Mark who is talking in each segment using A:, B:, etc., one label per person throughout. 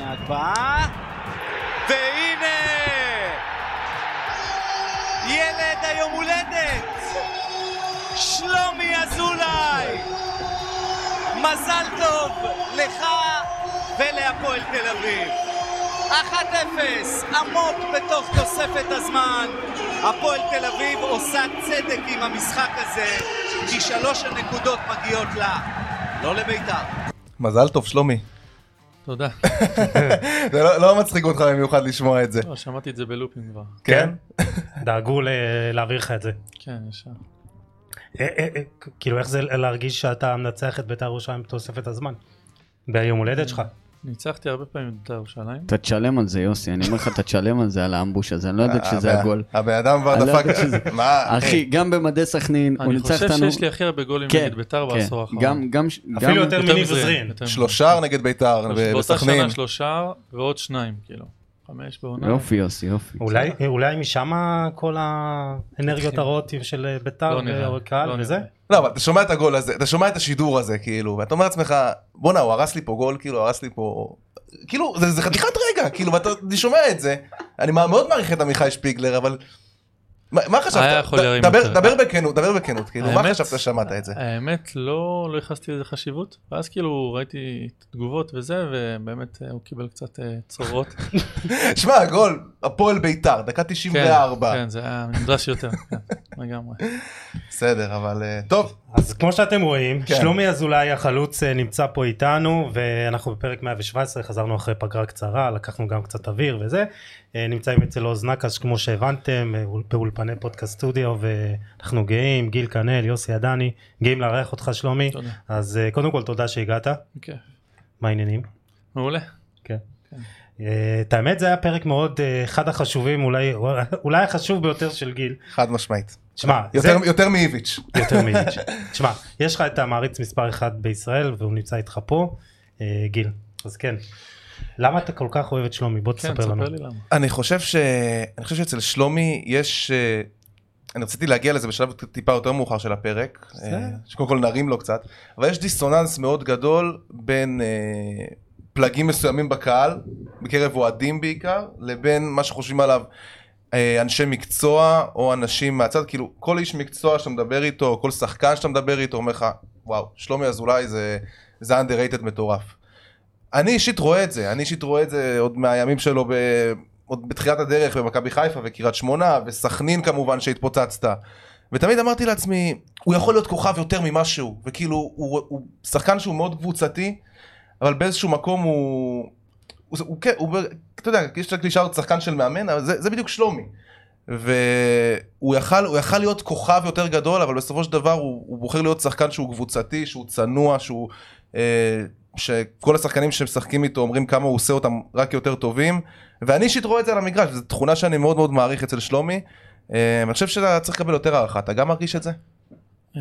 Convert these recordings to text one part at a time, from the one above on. A: הבאה, והנה! ילד היום הולדת! שלומי אזולאי! מזל טוב לך ולהפועל תל אביב. 1-0, עמוק בתוך תוספת הזמן. הפועל תל אביב עושה צדק עם המשחק הזה, כי שלוש הנקודות מגיעות לה, לא לבית"ר.
B: מזל טוב, שלומי.
C: תודה.
B: זה לא- לא מצחיק אותך במיוחד לשמוע את זה.
C: לא, שמעתי את זה בלופים כבר.
B: כן?
D: דאגו ל- להעביר לך את זה.
C: כן, ישר.
D: אה, אה, אה, כ- כאילו איך זה להרגיש שאתה מנצח את בית"ר ירושלים בתוספת הזמן? ביום הולדת שלך.
C: ניצחתי הרבה פעמים את ירושלים.
E: אתה תשלם על זה, יוסי, אני אומר לך, אתה תשלם על זה, על האמבוש הזה, אני לא יודעת שזה
D: אה,
B: הבן-
E: הגול.
B: הבן אדם כבר
E: אני לא
B: דפק...
E: יודע שזה-
B: מה,
E: אחי, גם במדי סכנין, הוא
C: אני
E: ניצח
C: חושב
E: אותנו...
C: שיש לי הכי הרבה גולים
E: כן,
C: נגד ביתר
E: כן.
C: בעשור האחרון.
E: גם, גם... ש- גם-
D: אפילו יותר מניב
C: מזרין,
D: זרין.
C: יותר מזרין.
B: שלושה נגד בית"ר
E: אה,
B: ו-
C: באותה
B: וסכנין.
C: שנה שלושה ועוד שניים, כאילו. חמש בעונה. לא
E: יופי, יוסי, יופי.
D: אולי, אולי משם כל האנרגיות הרעות של אה, בית"ר
C: לא נראה לי,
D: והקהל
C: לא
D: וזה?
C: נראה לי.
B: לא, אבל אתה שומע את הגול הזה, אתה שומע את השידור הזה, כאילו, ואתה אומר לעצמך, בואנה, הוא הרס לי פה גול, כאילו, הרס לי פה... כאילו, זה, זה חתיכת רגע, כאילו, ואתה אני שומע את זה. אני מה- מאוד מעריך את עמיחי שפיגלר, אבל... מה, מה חשבת?
C: היה יכול
B: ד-
C: להרים
B: דבר,
C: יותר.
B: דבר בכנות, דבר בכנות, כאילו, מה
C: האמת-
B: חשבת שמעת את זה?
C: האמת, לא לא ייחסתי לזה חשיבות, ואז כאילו ראיתי את התגובות וזה, ובאמת אה, הוא קיבל קצת אה, צרורות.
B: שמע, הגול, הפועל ביתר, דקה
C: כן,
B: 94.
C: כן, זה היה נדרש יותר, כן, לגמרי.
B: בסדר, אבל אה, טוב,
D: אז כמו שאתם רואים,
B: כן.
D: שלומי אזולאי החלוץ אה, נמצא פה איתנו, ואנחנו בפרק 117, חזרנו אחרי פגרה קצרה, לקחנו גם קצת אוויר וזה. אה, נמצאים אצל עוז נקש, כמו שהבנתם, אה, אול- באולפני פודקאסט סטודיו, ואנחנו גאים, גיל כנל, יוסי עדני, גאים לארח אותך שלומי.
C: תודה.
D: אז אה, קודם כל תודה שהגעת,
C: אוקיי,
D: מה העניינים?
C: מעולה.
D: אה, את האמת זה היה פרק מאוד, אה, אחד החשובים, אולי אולי החשוב ביותר של גיל.
B: חד משמעית.
D: שמע, זה-
B: יותר, יותר מאיביץ'.
D: יותר מיליץ'. תשמע, יש לך את המעריץ מספר 1 בישראל והוא נמצא איתך פה, אה, גיל, אז כן. למה אתה כל כך אוהב את שלומי? בוא
C: כן,
D: תספר לנו.
C: תספר לי למה.
B: אני חושב ש... אני חושב שאצל שלומי יש... אה, אני רציתי להגיע לזה בשלב טיפה יותר מאוחר של הפרק,
D: בסדר.
B: אה, שקודם כל נרים לו קצת, אבל יש דיסוננס מאוד גדול בין אה, פלגים מסוימים בקהל, בקרב אוהדים בעיקר, לבין מה שחושבים עליו אה, אנשי מקצוע או אנשים מהצד, כאילו כל איש מקצוע שאתה מדבר איתו, כל שחקן שאתה מדבר איתו אומר לך, וואו, שלומי אזולאי זה, זה underrated מטורף. אני אישית רואה את זה, אני אישית רואה את זה עוד מהימים שלו ב... עוד בתחילת הדרך במכבי חיפה וקריית שמונה וסכנין כמובן שהתפוצצת. ותמיד אמרתי לעצמי, הוא יכול להיות כוכב יותר ממה שהוא, וכאילו הוא, הוא שחקן שהוא מאוד קבוצתי, אבל באיזשהו מקום הוא, הוא, הוא, כן, הוא, ב- אתה יודע, יש את הקלישאות שחקן של מאמן, אבל זה, זה בדיוק שלומי. והוא יכל, הוא יכל להיות כוכב יותר גדול, אבל בסופו של דבר הוא, הוא בוחר להיות שחקן שהוא קבוצתי, שהוא צנוע, שהוא... אה, שכל השחקנים שמשחקים איתו אומרים כמה הוא עושה אותם רק יותר טובים ואני אישית רואה את זה על המגרש זו תכונה שאני מאוד מאוד מעריך אצל שלומי. אה, אני חושב שאתה צריך לקבל יותר הערכה אתה גם מרגיש את זה?
C: אמ,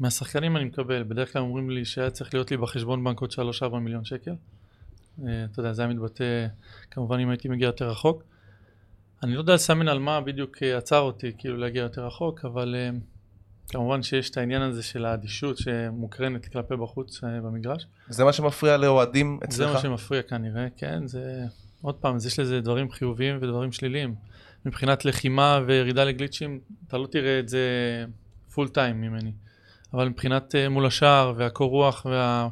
C: מהשחקנים אני מקבל, בדרך כלל אומרים לי שהיה צריך להיות לי בחשבון בנק עוד 3-4 מיליון שקל. אה, אתה יודע, זה היה מתבטא, כמובן אם הייתי מגיע יותר רחוק. אני לא יודע לסמן על מה בדיוק אה, עצר אותי, כאילו להגיע יותר רחוק, אבל אמ, כמובן שיש את העניין הזה של האדישות שמוקרנת כלפי בחוץ אה, במגרש.
B: זה מה שמפריע לאוהדים
C: זה
B: אצלך?
C: מה שמפריע כנראה, כן, זה... עוד פעם, אז יש לזה דברים חיוביים ודברים שליליים. מבחינת לחימה וירידה לגליצ'ים, אתה לא תראה את זה פול טיים ממני. אבל מבחינת אה, מול השער והקור רוח וה...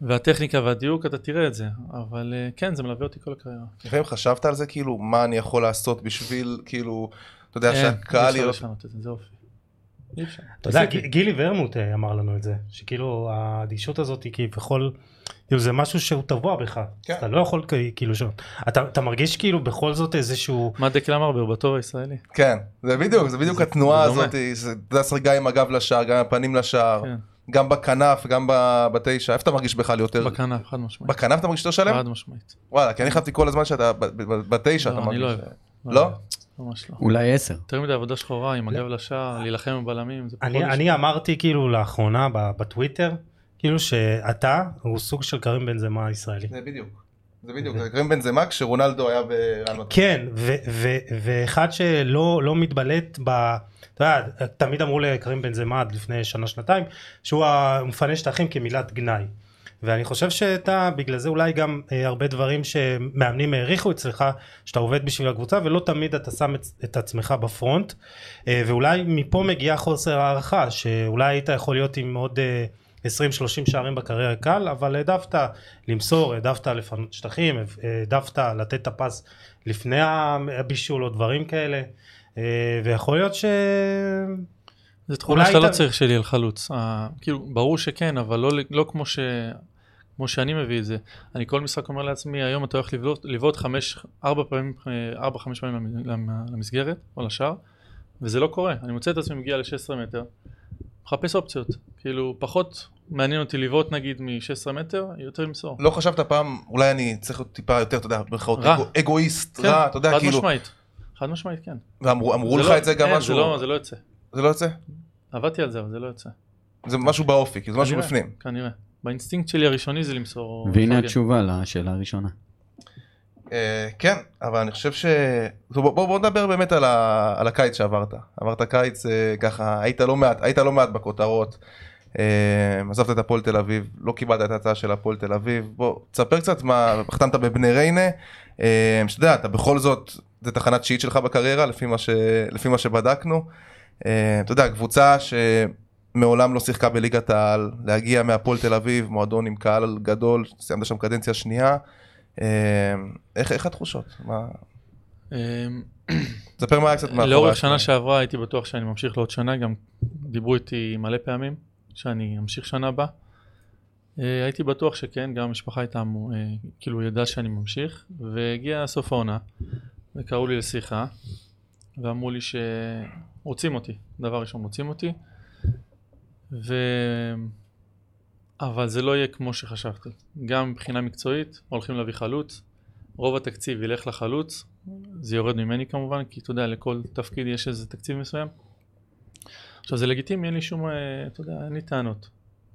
C: והטכניקה והדיוק, אתה תראה את זה. אבל אה, כן, זה מלווה אותי כל הקריירה.
B: לפעמים חשבת על זה כאילו מה אני יכול לעשות בשביל כאילו אתה יודע
C: אין, אי
B: שהקהל
C: אפשר
B: יראה
C: לשנות את זה, זה אופי. אי אפשר.
D: אתה יודע,
C: תעשה לי.
D: ג- גילי ורמוט אה, אמר לנו את זה, שכאילו האדישות הזאת היא כביכול, כאילו זה משהו שהוא טבוע בך,
B: כן.
D: אז אתה לא יכול כ- כאילו, ש- אתה אתה מרגיש כאילו בכל זאת איזשהו,
C: מה דקלה מרבר בטוב הישראלי?
B: כן זה בדיוק זה בדיוק
C: זה-
B: התנועה
C: זה דומה.
B: הזאת זה- אתה יודע לשחק גם עם הגב לשער גם עם הפנים לשער
C: כן,
B: גם בכנף גם ב- בתשע איפה אתה מרגיש בכלל יותר?
C: בכנף, חד משמעית.
B: בכנף אתה מרגיש יותר שלם?
C: חד משמעית.
B: וואלה, כי אני חשבתי כל הזמן שאתה ב- ב- ב- בתשע,
C: לא,
B: אתה
C: אני
B: מרגיש.
C: לא אוהב.
B: לא?
C: ממש לא.
E: אולי עשר.
C: יותר מדי עבודה שחורה עם הגב לשער, להילחם בבלמים, זה
D: אני- אני אמרתי כאילו לאחרונה ב- בטוויטר, כאילו שאתה הוא סוג של קרים בנזמה הישראלי.
B: זה בדיוק. זה בדיוק. זה קרים בנזמה כשרונלדו היה בריאל מדריד.
D: כן, ו- ו- ואחד שלא לא מתבלט ב... אתה יודע, תמיד אמרו לקרים בנזמה עד לפני שנה-שנתיים, שהוא ה- הוא מפנה שטחים כמילת גנאי. ואני חושב שאתה, בגלל זה אולי גם אה, הרבה דברים שמאמנים העריכו אצלך, שאתה עובד בשביל הקבוצה ולא תמיד אתה שם את, את עצמך בפרונט, אה, ואולי מפה מגיע חוסר הערכה, שאולי היית יכול להיות עם עוד אה, 20-30 שערים בקריירה קל, אבל העדפת למסור, העדפת לפנות שטחים, העדפת לתת את הפס לפני הבישול או דברים כאלה, אה, ויכול להיות ש...
C: זו תכונה
D: אולי
C: שאתה לא
D: אתה-
C: צריך שיהיה חלוץ. אה, כאילו, ברור שכן, אבל לא, לא כמו, ש... כמו שאני מביא את זה. אני כל משחק אומר לעצמי, היום אתה הולך לבעוט- לבעוט חמש, ארבע פעמים, אה, ארבע, חמש פעמים למ- למ- למסגרת, או לשער, וזה לא קורה. אני מוצא את עצמי מגיע ל-16 מטר, מחפש אופציות. כאילו, פחות מעניין אותי לבעוט נגיד מ-16 מטר, יותר למסור.
B: לא חשבת פעם, אולי אני צריך להיות טיפה יותר, אתה יודע, במירכאות,
C: רע.
B: אגו- אגואיסט,
C: כן,
B: רע, אתה יודע,
C: חד
B: כאילו,
C: משמעית. חד משמעית, כן.
B: ואמרו אמרו
C: זה
B: לך
C: לא-
B: את זה גם
C: אין,
B: משהו,
C: זה לא- זה לא יוצא.
B: זה לא יוצא?
C: עבדתי על זה, אבל זה לא יוצא.
B: זה משהו באופי, כאילו, זה משהו
C: כנראה,
B: בפנים.
C: כנראה. באינסטינקט שלי הראשוני זה למסור. או
E: והנה
C: לפרגן.
E: התשובה לשאלה הראשונה.
B: אה, כן, אבל אני חושב ש... טוב, בוא, בוא, בוא נדבר באמת על, ה... על הקיץ שעברת. עברת קיץ אה, ככה, היית לא מעט, היית לא מעט בכותרות. אה, עזבת את הפועל תל אביב, לא קיבלת את ההצעה של הפועל תל אביב. בוא, תספר קצת מה, החתמת בבני ריינה, אה, שאתה יודע, אתה בכל זאת, זה תחנה תשיעית שלך בקריירה, לפי מה, ש... לפי מה שבדקנו. אה, אתה יודע, קבוצה שמעולם לא שיחקה בליגת העל, להגיע מהפועל תל אביב, מועדון עם קהל גדול, סיימת שם קדנציה שנייה. אה, איך, איך התחושות? מה...
C: אמ,
B: תספר מה היה קצת מאחורי.
C: לאורך
B: הקלעים.
C: שנה שעברה הייתי בטוח שאני ממשיך לעוד שנה, גם דיברו איתי מלא פעמים שאני אמשיך שנה הבאה. אה, הייתי בטוח שכן, גם המשפחה הייתה, מו- אה, כאילו ידעה שאני ממשיך, והגיע סוף העונה, וקראו לי לשיחה, ואמרו לי שרוצים אותי, דבר ראשון רוצים אותי, ו... אבל זה לא יהיה כמו שחשבתי. גם מבחינה מקצועית, הולכים להביא חלוץ, רוב התקציב ילך לחלוץ, זה יורד ממני כמובן, כי אתה יודע, לכל תפקיד יש איזה תקציב מסוים. עכשיו זה לגיטימי, אין לי שום, אה, אתה יודע, אין לי טענות.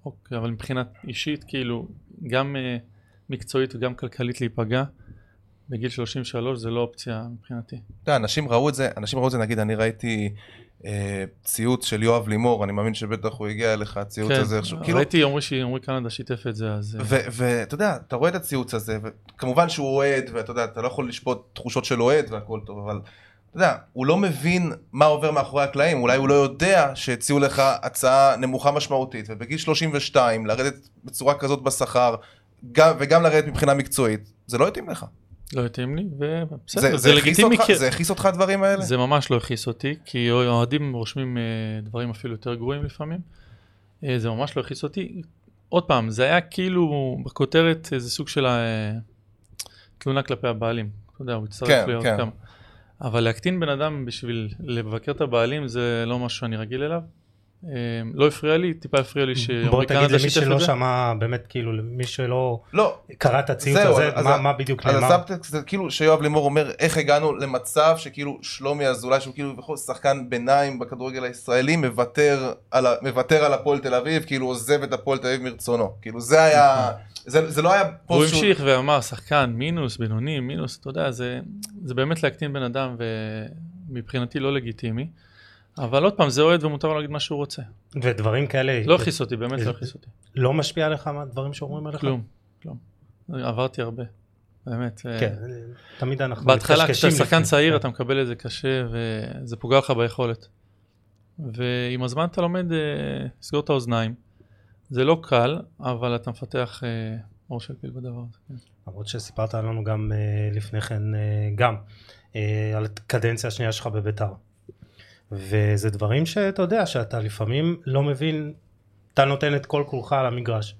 C: אוקיי, אבל מבחינה אישית, כאילו, גם אה, מקצועית וגם כלכלית להיפגע, בגיל 33 זה לא אופציה מבחינתי.
B: אתה יודע, אנשים ראו את זה, אנשים ראו את זה, נגיד, אני ראיתי אה, ציוץ של יואב לימור, אני מאמין שבטח הוא הגיע אליך, הציוץ הזה איכשהו. כאילו,
C: כן, אה, ראיתי עמרי ש- עמרי קנדה שיתף את זה, אז... אה,
B: ו- ואתה יודע, אתה רואה את הציוץ הזה, וכמובן שהוא אוהד, ואתה יודע, אתה לא יכול לשפוט תחושות של אוהד והכל טוב, אבל אתה יודע, הוא לא מבין מה עובר מאחורי הקלעים, אולי הוא לא יודע שהציעו לך הצעה נמוכה משמעותית, ובגיל 32 לרדת בצורה כזאת בשכר, גם, וגם לרדת מבחינה מקצועית, זה לא התאים לך.
C: לא התאים לי,
B: זה-
C: ובסדר,
B: זה
C: זה
B: הכעיס
C: לגיטימי.
B: אותך-
C: כי-
B: זה הכעיס אותך הדברים האלה?
C: זה ממש לא הכעיס אותי, כי אוהדים רושמים אה, דברים אפילו יותר גרועים לפעמים. אה, זה ממש לא הכעיס אותי. עוד פעם, זה היה כאילו בכותרת איזה סוג של אה, תלונה כלפי הבעלים. אתה יודע, הוא הצטרף
B: כן,
C: לעוד
B: כן.
C: כמה. אבל להקטין בן אדם בשביל לבקר את הבעלים זה לא משהו שאני רגיל אליו. אה, לא הפריע לי, טיפה הפריע לי
D: בוא
C: שעומרי
D: תגיד
C: קנדה
D: למי
C: שיתף את
D: שלא
C: זה.
D: שמע באמת כאילו למי שלא
B: לא,
D: קרא את הציוץ
B: זהו,
D: הזה
B: אז-
D: מה-
B: אז-
D: מה בדיוק
B: אז
D: נאמר.
B: הסאבטקסט זה כאילו שיואב לימור אומר איך הגענו למצב שכאילו שלומי אזולאי שהוא כאילו בכל זאת שחקן ביניים בכדורגל הישראלי מוותר על, ה- מוותר על הפועל תל אביב כאילו עוזב את הפועל תל אביב מרצונו כאילו זה היה זה, זה לא היה
C: הוא
B: פוסט שהוא
C: המשיך ואמר שחקן מינוס, בינוני, מינוס, אתה יודע, זה, זה באמת להקטין בן אדם ומבחינתי לא לגיטימי. אבל עוד פעם, זה אוהד ומותר לו להגיד מה שהוא רוצה.
D: ודברים כאלה
C: לא הכעיס אותי, באמת לא הכעיס אותי.
D: לא משפיע עליך מה הדברים שאומרים עליך?
C: כלום, כלום. עברתי הרבה, באמת. אה,
D: כן, תמיד אנחנו
C: בהתחלה
D: מתקשקשים
C: כשאתה שחקן
D: לפני.
C: צעיר אתה מקבל את זה קשה וזה פוגע לך ביכולת. ועם הזמן אתה לומד אה, לסגור את האוזניים. זה לא קל, אבל אתה מפתח אה, אור של פיל בדבר הזה. כן.
D: למרות שסיפרת לנו גם אה, לפני כן אה, גם אה, על הקדנציה השנייה שלך בביתר. וזה דברים שאתה יודע שאתה לפעמים לא מבין, אתה נותן את כל כולך על המגרש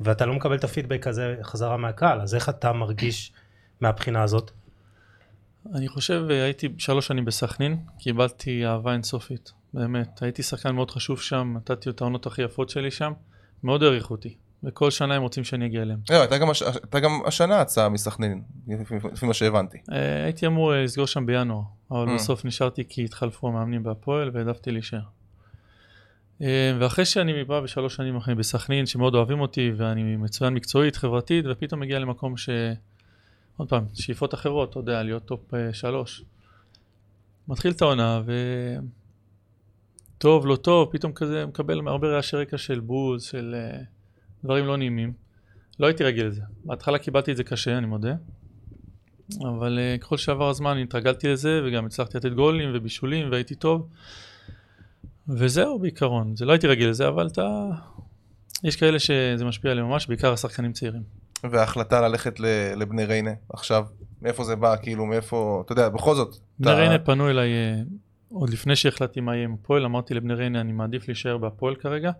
D: ואתה לא מקבל את הפידבק הזה חזרה מהקהל, אז איך אתה מרגיש מהבחינה הזאת?
C: אני חושב, אה, הייתי שלוש שנים בסכנין, קיבלתי אהבה אינסופית, באמת. הייתי שחקן מאוד חשוב שם, נתתי את העונות הכי יפות שלי שם, מאוד העריכו אותי, וכל שנה הם רוצים שאני אגיע אליהם.
B: לא, הייתה גם, הש... הייתה גם השנה הצעה מסכנין לפי, לפי מה שהבנתי
C: אה, הייתי אמור אה, לסגור שם בינואר, אבל
B: Mm.
C: בסוף נשארתי כי התחלפו המאמנים בהפועל והעדפתי להישאר. אה, ואחרי שאני בא בשלוש שנים אחרי בסכנין, שמאוד אוהבים אותי, ואני מצוין מקצועית, חברתית, ופתאום מגיע למקום ש... עוד פעם, שאיפות אחרות, אתה יודע, להיות טופ אה, שלוש. מתחיל את העונה, ו... טוב, לא טוב, פתאום כזה מקבל הרבה רעשי רקע של בוז, של אה, דברים לא נעימים. לא הייתי רגיל לזה. בהתחלה קיבלתי את זה קשה, אני מודה. אבל אה, ככל שעבר הזמן התרגלתי לזה, וגם הצלחתי לתת גולים ובישולים, והייתי טוב. וזהו בעיקרון, זה לא הייתי רגיל לזה, אבל אתה... יש כאלה שזה משפיע עליהם ממש, בעיקר השחקנים צעירים.
B: וההחלטה ללכת ל- לבני ריינה עכשיו, מאיפה זה בא, כאילו, מאיפה, אתה יודע, בכל זאת.
C: בני
B: אתה-
C: ריינה פנו אליי אה, עוד לפני שהחלטתי מה יהיה עם הפועל, אמרתי לבני ריינה אני מעדיף להישאר בהפועל כרגע,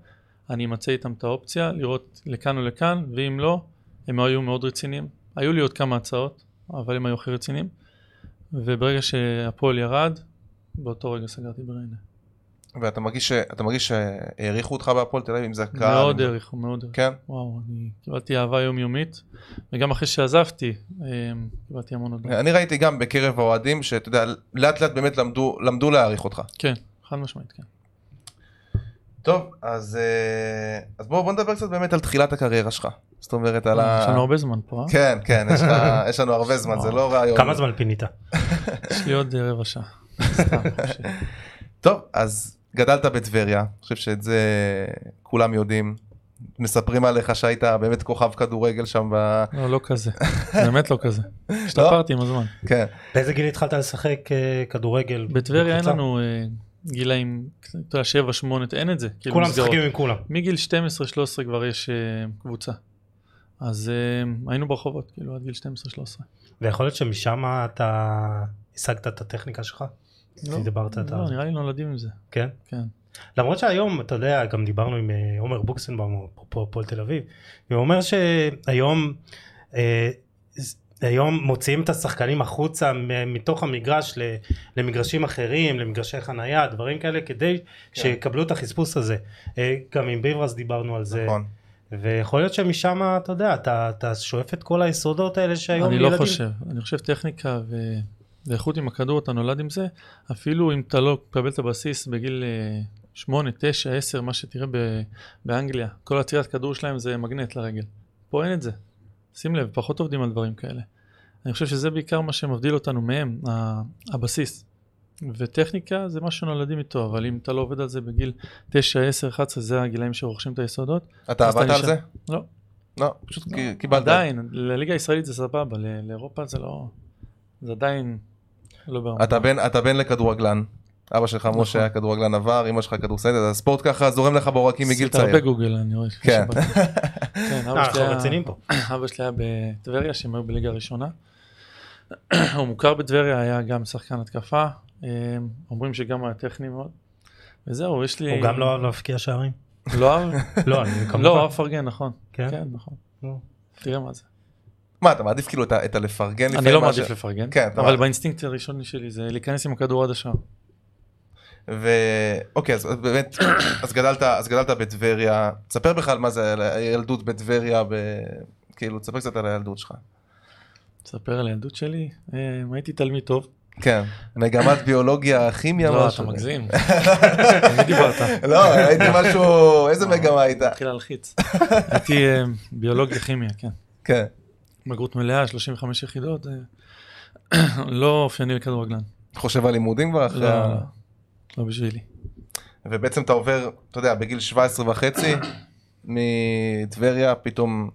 C: אני אמצא איתם את האופציה, לראות לכאן או לכאן, ואם לא, הם היו מאוד רציניים. היו לי עוד כמה הצעות, אבל הם היו הכי רציניים, וברגע שהפועל ירד, באותו רגע סגרתי בריינה.
B: ואתה מרגיש, ש- אתה מרגיש שהעריכו אותך בהפועל תל אביב, אם זה הקהל.
C: מאוד העריכו, מאוד העריכו.
B: כן?
C: וואו, אני קיבלתי אהבה יומיומית, וגם אחרי שעזבתי, אה, קיבלתי המון הודעות.
B: אני ראיתי גם בקרב האוהדים, שאתה יודע, לאט לאט באמת למדו, למדו להעריך אותך.
C: כן, חד משמעית, כן.
B: טוב, אז, אה, אז בואו בוא נדבר קצת באמת על תחילת הקריירה שלך. זאת אומרת, על ה...
C: יש לנו אה, הרבה זמן פה, אה?
B: כן, כן, יש, לך, יש לנו הרבה זמן, זה לא רעיון.
D: כמה זמן פינית?
C: יש לי עוד אה, רבע שעה. סתם, חופשי.
B: טוב, אז גדלת בטבריה, אני חושב שאת זה כולם יודעים. מספרים עליך שהיית באמת כוכב כדורגל שם ב...
C: לא, לא כזה. באמת לא כזה. השתפרתי עם הזמן.
B: כן.
D: באיזה גיל התחלת לשחק אה, כדורגל?
C: בטבריה אין
D: בקבוצה?
C: לנו אה, גילאים, אתה יודע, 7, 8, אין את זה. כאילו,
D: כולם
C: מסגרות.
D: משחקים עם כולם.
C: מגיל 12-13 כבר יש אה, קבוצה. אז אה, היינו ברחובות, כאילו, עד גיל 12-13.
D: ויכול להיות שמשם אתה השגת את הטכניקה שלך?
C: לא,
D: דיברת אתה-
C: לא, נראה לי נולדים עם זה.
D: כן.
C: כן.
D: למרות שהיום, אתה יודע, גם דיברנו עם אה, עומר בוקסנבאום, אפרופו הפועל תל אביב, והוא אומר שהיום, אה, ז- היום מוציאים את השחקנים החוצה מ- מתוך המגרש ל- למגרשים אחרים, למגרשי חנייה, דברים כאלה, כדי שיקבלו את החספוס הזה. אה, גם עם ביברס דיברנו על זה.
B: נכון.
D: ויכול להיות שמשם, אתה יודע, אתה, אתה שואף את כל היסודות האלה שהיום
C: אני
D: ילדים...
C: לא חושב. אני חושב טכניקה ו... ואיכות עם הכדור, אתה נולד עם זה. אפילו אם אתה לא מקבל את הבסיס בגיל אה, 8, 9, 10, מה שתראה ב... באנגליה, כל עצירת כדור שלהם זה מגנט לרגל. פה אין את זה. שים לב, פחות עובדים על דברים כאלה. אני חושב שזה בעיקר מה שמבדיל אותנו מהם, ה- הבסיס. וטכניקה זה מה שנולדים איתו, אבל אם אתה לא עובד על זה בגיל 9, 10, 11, זה הגילאים שרוכשים את היסודות.
B: אתה
C: אז אתה
B: עבדת על זה?
C: נשאר. לא.
B: לא, פשוט כי- קיבלת.
C: עדיין, לליגה הישראלית זה סבבה, ל- לאירופה זה לא... זה עדיין לא ברמה.
B: אתה בן, אתה בן לכדורגלן. אבא שלך
C: נכון.
B: משה היה כדורגלן עבר, אמא שלך כדורסלת, אז הספורט ככה זורם לך בעורקים מגיל
C: עשית הרבה
B: צעיר.
C: גוגל, אני רואה. לפני
B: כן.
C: שבאתי. כן,
D: אה,
C: אבא
D: אנחנו
C: שלי היה-
D: רציניים פה.
C: אבא שלי היה בטבריה, שהם היו בליגה הראשונה. הוא מוכר בטבריה, היה גם שחקן התקפה. אה, אומרים שגם היה טכני מאוד. וזהו, יש לי...
D: הוא גם לא אהב להפקיע שערים?
C: אה, לא אהב?
D: לא, אני כמובן.
C: לא, אהב פרגן, נכון.
D: כן?
C: כן, נכון.
D: נו.
C: תראה מה זה.
B: מה, אתה מעדיף כאילו את ה- את הלפרגן
C: אני לא
B: מה ש-
C: מעדיף לפרגן,
B: כן, אתה
C: אבל
B: מעדיף.
C: באינסטינקט הראשון שלי זה להיכנס עם הכדור עד השער.
B: ו... אוקיי, אז באמת, אז גדלת, אז גדלת בטבריה, תספר בכלל מה זה הילדות בטבריה, ב... כאילו, תספר קצת על הילדות שלך.
C: תספר על הילדות שלי. אה, הייתי תלמיד טוב.
B: כן, מגמת ביולוגיה, כימיה,
C: לא, אתה
B: משהו.
C: מגזים. תמיד דיברת.
B: לא, הייתי משהו, איזה מגמה הייתה.
C: התחיל להלחיץ. הייתי אה, ביולוג וכימיה, כן.
B: כן,
C: בגרות מלאה, 35 יחידות. אה, לא אופייני לכדורגלן.
B: חושב על לימודים כבר אחרי
C: לא,
B: ה...
C: לא, לא בשבילי.
B: ובעצם אתה עובר, אתה יודע, בגיל 17 וחצי, מטבריה פתאום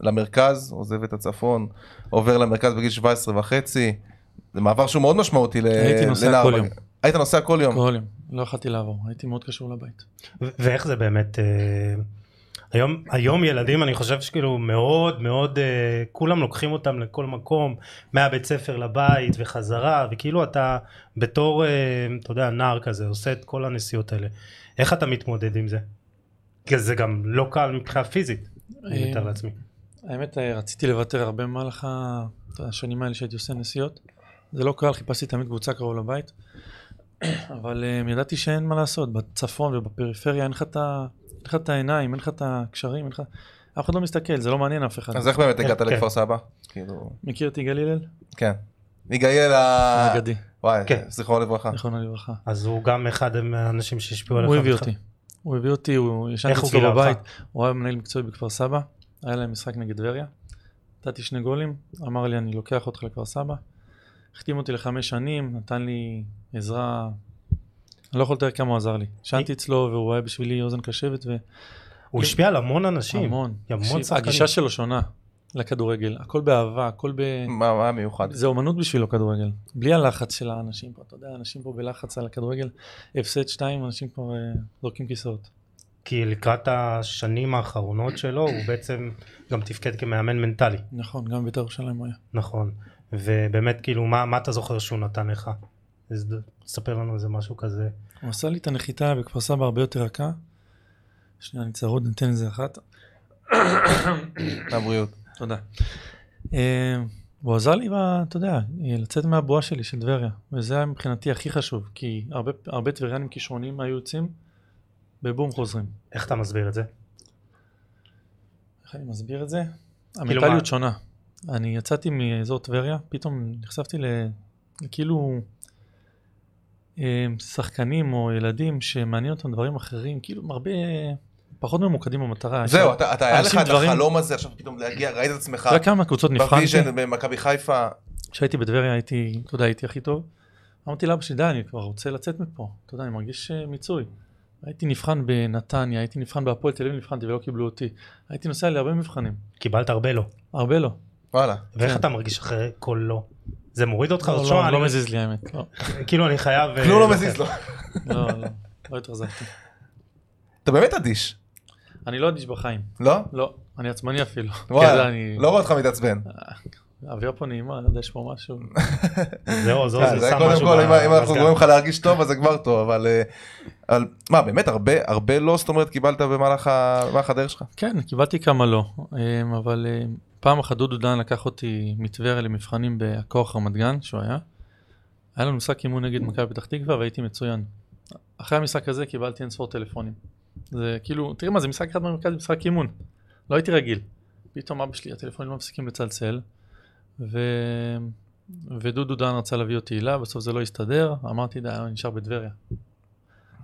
B: למרכז, עוזב את הצפון, עובר למרכז בגיל 17 וחצי, זה מעבר שהוא מאוד משמעותי ל-
C: הייתי נוסע
B: לנער
C: כל
B: בג-
C: יום.
B: היית נוסע כל יום.
C: כל יום. לא יכלתי לעבור, הייתי מאוד קשור לבית.
D: ו- ואיך זה באמת, אה, היום, היום ילדים אני חושב שכאילו מאוד מאוד, אה, כולם לוקחים אותם לכל מקום, מהבית ספר לבית וחזרה, וכאילו אתה בתור, אה, אתה יודע, נער כזה, עושה את כל הנסיעות האלה. איך אתה מתמודד עם זה? כי זה גם לא קל מבחינה פיזית, אני
C: אה,
D: מתאר לעצמי.
C: האמת, אה, רציתי לוותר הרבה במהלך ה- השנים האלה שהייתי עושה נסיעות. זה לא קל, חיפשתי תמיד קבוצה קרוב לבית. אבל אה, ידעתי שאין מה לעשות, בצפון ובפריפריה אין לך את ה- אין לך את העיניים, אין לך את הקשרים, אין לך... אף אחד לא מסתכל, זה לא מעניין אף אחד.
B: אז איך באמת הגעת
D: כן.
B: לכפר סבא? כאילו,
C: מכיר את יגאל הלל?
B: כן. יגאל ה...
C: אגדי,
B: וואי,
D: כן.
B: זכרו לברכה.
C: זיכרונו לברכה.
D: אז הוא גם אחד מהאנשים שהשפיעו עליך.
C: הוא הביא
D: בתח-
C: אותי. הוא הביא אותי, הוא ישן
D: איך הוא
C: אצלו
D: גילה אותך?
C: בבית, הוא היה מנהל מקצועי בכפר סבא, היה להם משחק נגד טבריה, נתתי שני גולים, אמר לי אני לוקח אותך לכפר סבא, החתים אותי לחמש שנים, נתן לי עזרה, אני לא יכול לתאר כמה הוא עזר לי. ישנתי אצלו והוא היה בשבילי אוזן קשבת
D: הוא השפיע על המון אנשים.
C: המון.
D: המון
C: תקשיב,
D: שחקנים.
C: הגישה שלו שונה לכדורגל, הכל באהבה, הכל ב...
D: Mm.
B: מה מה מיוחד?
C: זה אומנות בשבילו כדורגל, בלי הלחץ של האנשים פה, אתה יודע, אנשים פה בלחץ על הכדורגל, הפסד שתיים, אנשים כבר אה, זורקים כיסאות.
D: כי לקראת השנים האחרונות שלו הוא בעצם גם תפקד כמאמן מנטלי,
C: נכון, גם בית"ר ירושלים הוא היה.
D: נכון. ובאמת כאילו מה, מה אתה זוכר שהוא נתן לך? אז ד- ספר לנו איזה משהו כזה.
C: הוא עשה לי את הנחיתה בכפר סבא הרבה יותר רכה. שנייה, אני צרוד, ניתן איזה אחת.
B: הבריאות.
C: תודה. אה, הוא עזר לי, ב- אתה יודע, אה, לצאת מהבועה שלי של טבריה, וזה היה מבחינתי הכי חשוב, כי הרבה- הרבה טבריאנים כישרוניים היו יוצאים, בבום חוזרים.
D: איך אתה מסביר את זה?
C: איך אני מסביר את זה? המנטליות שונה. אני יצאתי מאזור טבריה, פתאום נחשפתי ל... כאילו אה, שחקנים או ילדים שמעניין אותם דברים אחרים, כאילו הם הרבה פחות ממוקדים במטרה.
B: זהו, אתה אתה היה לך
C: אנשים
B: את
C: דברים-
B: החלום הזה עכשיו פתאום להגיע, ראית את עצמך
C: אתה יודע כמה קבוצות נבחנתי?
B: בוויז'ן במכבי חיפה,
C: כשהייתי בטבריה הייתי, אתה יודע, הייתי הכי טוב. אמרתי לאבא שלי, די, אני כבר רוצה לצאת מפה. אתה יודע, אני מרגיש אה, מיצוי. הייתי נבחן בנתניה, הייתי נבחן בהפועל תל אביב, נבחנתי ולא קיבלו אותי. הייתי נוסע להרבה מבחנים,
D: קיבלת הרבה לא.
C: הרבה לא.
B: וואלה.
D: ואיך
C: כן.
D: אתה מרגיש אחרי כל לא? זה מוריד אותך?
C: לא,
D: או
C: לא,
D: שמע,
C: לא
D: אני-
C: מזיז לי האמת, לא.
D: כאילו אני חייב... אה,
B: כלום לא
D: לתת.
B: מזיז לו.
C: לא, לא, לא התרזקתי.
B: אתה באמת אדיש,
C: אני לא אדיש בחיים,
B: לא?
C: לא, אני עצמני אפילו. כן,
B: וואלה,
C: אני...
B: לא רואה אותך מתעצבן.
C: האוויר פה נעימה, אני יודע, יש פה משהו.
D: זהו,
C: לא,
D: זהו,
B: כן,
D: זה
B: זה
D: שם
B: קודם
D: משהו
B: כל, אם- אם אנחנו
D: במזגן.
B: גורמים לך להרגיש טוב, אז זה כבר טוב, אבל... אה, אבל- מה, באמת הרבה, הרבה לא, זאת אומרת, קיבלת במהלך ה- במהלך הדרך שלך?
C: כן, קיבלתי כמה לא, אמ, אבל אמ, פעם אחת דודו דן לקח אותי מטבריה למבחנים בהכוח רמת גן, שהוא היה. היה לנו משחק אימון נגד מכבי פתח תקווה והייתי מצוין. אחרי המשחק הזה קיבלתי אינספור טלפונים. זה כאילו, תראי מה, זה משחק אחד במרכז, משחק אימון. לא הייתי רגיל. פתאום אבא שלי, הטלפונים לא מפסיקים לצלצל, ו... ודודו דן רצה להביא אותי הילה, בסוף זה לא הסתדר, אמרתי, די, אני נשאר בטבריה.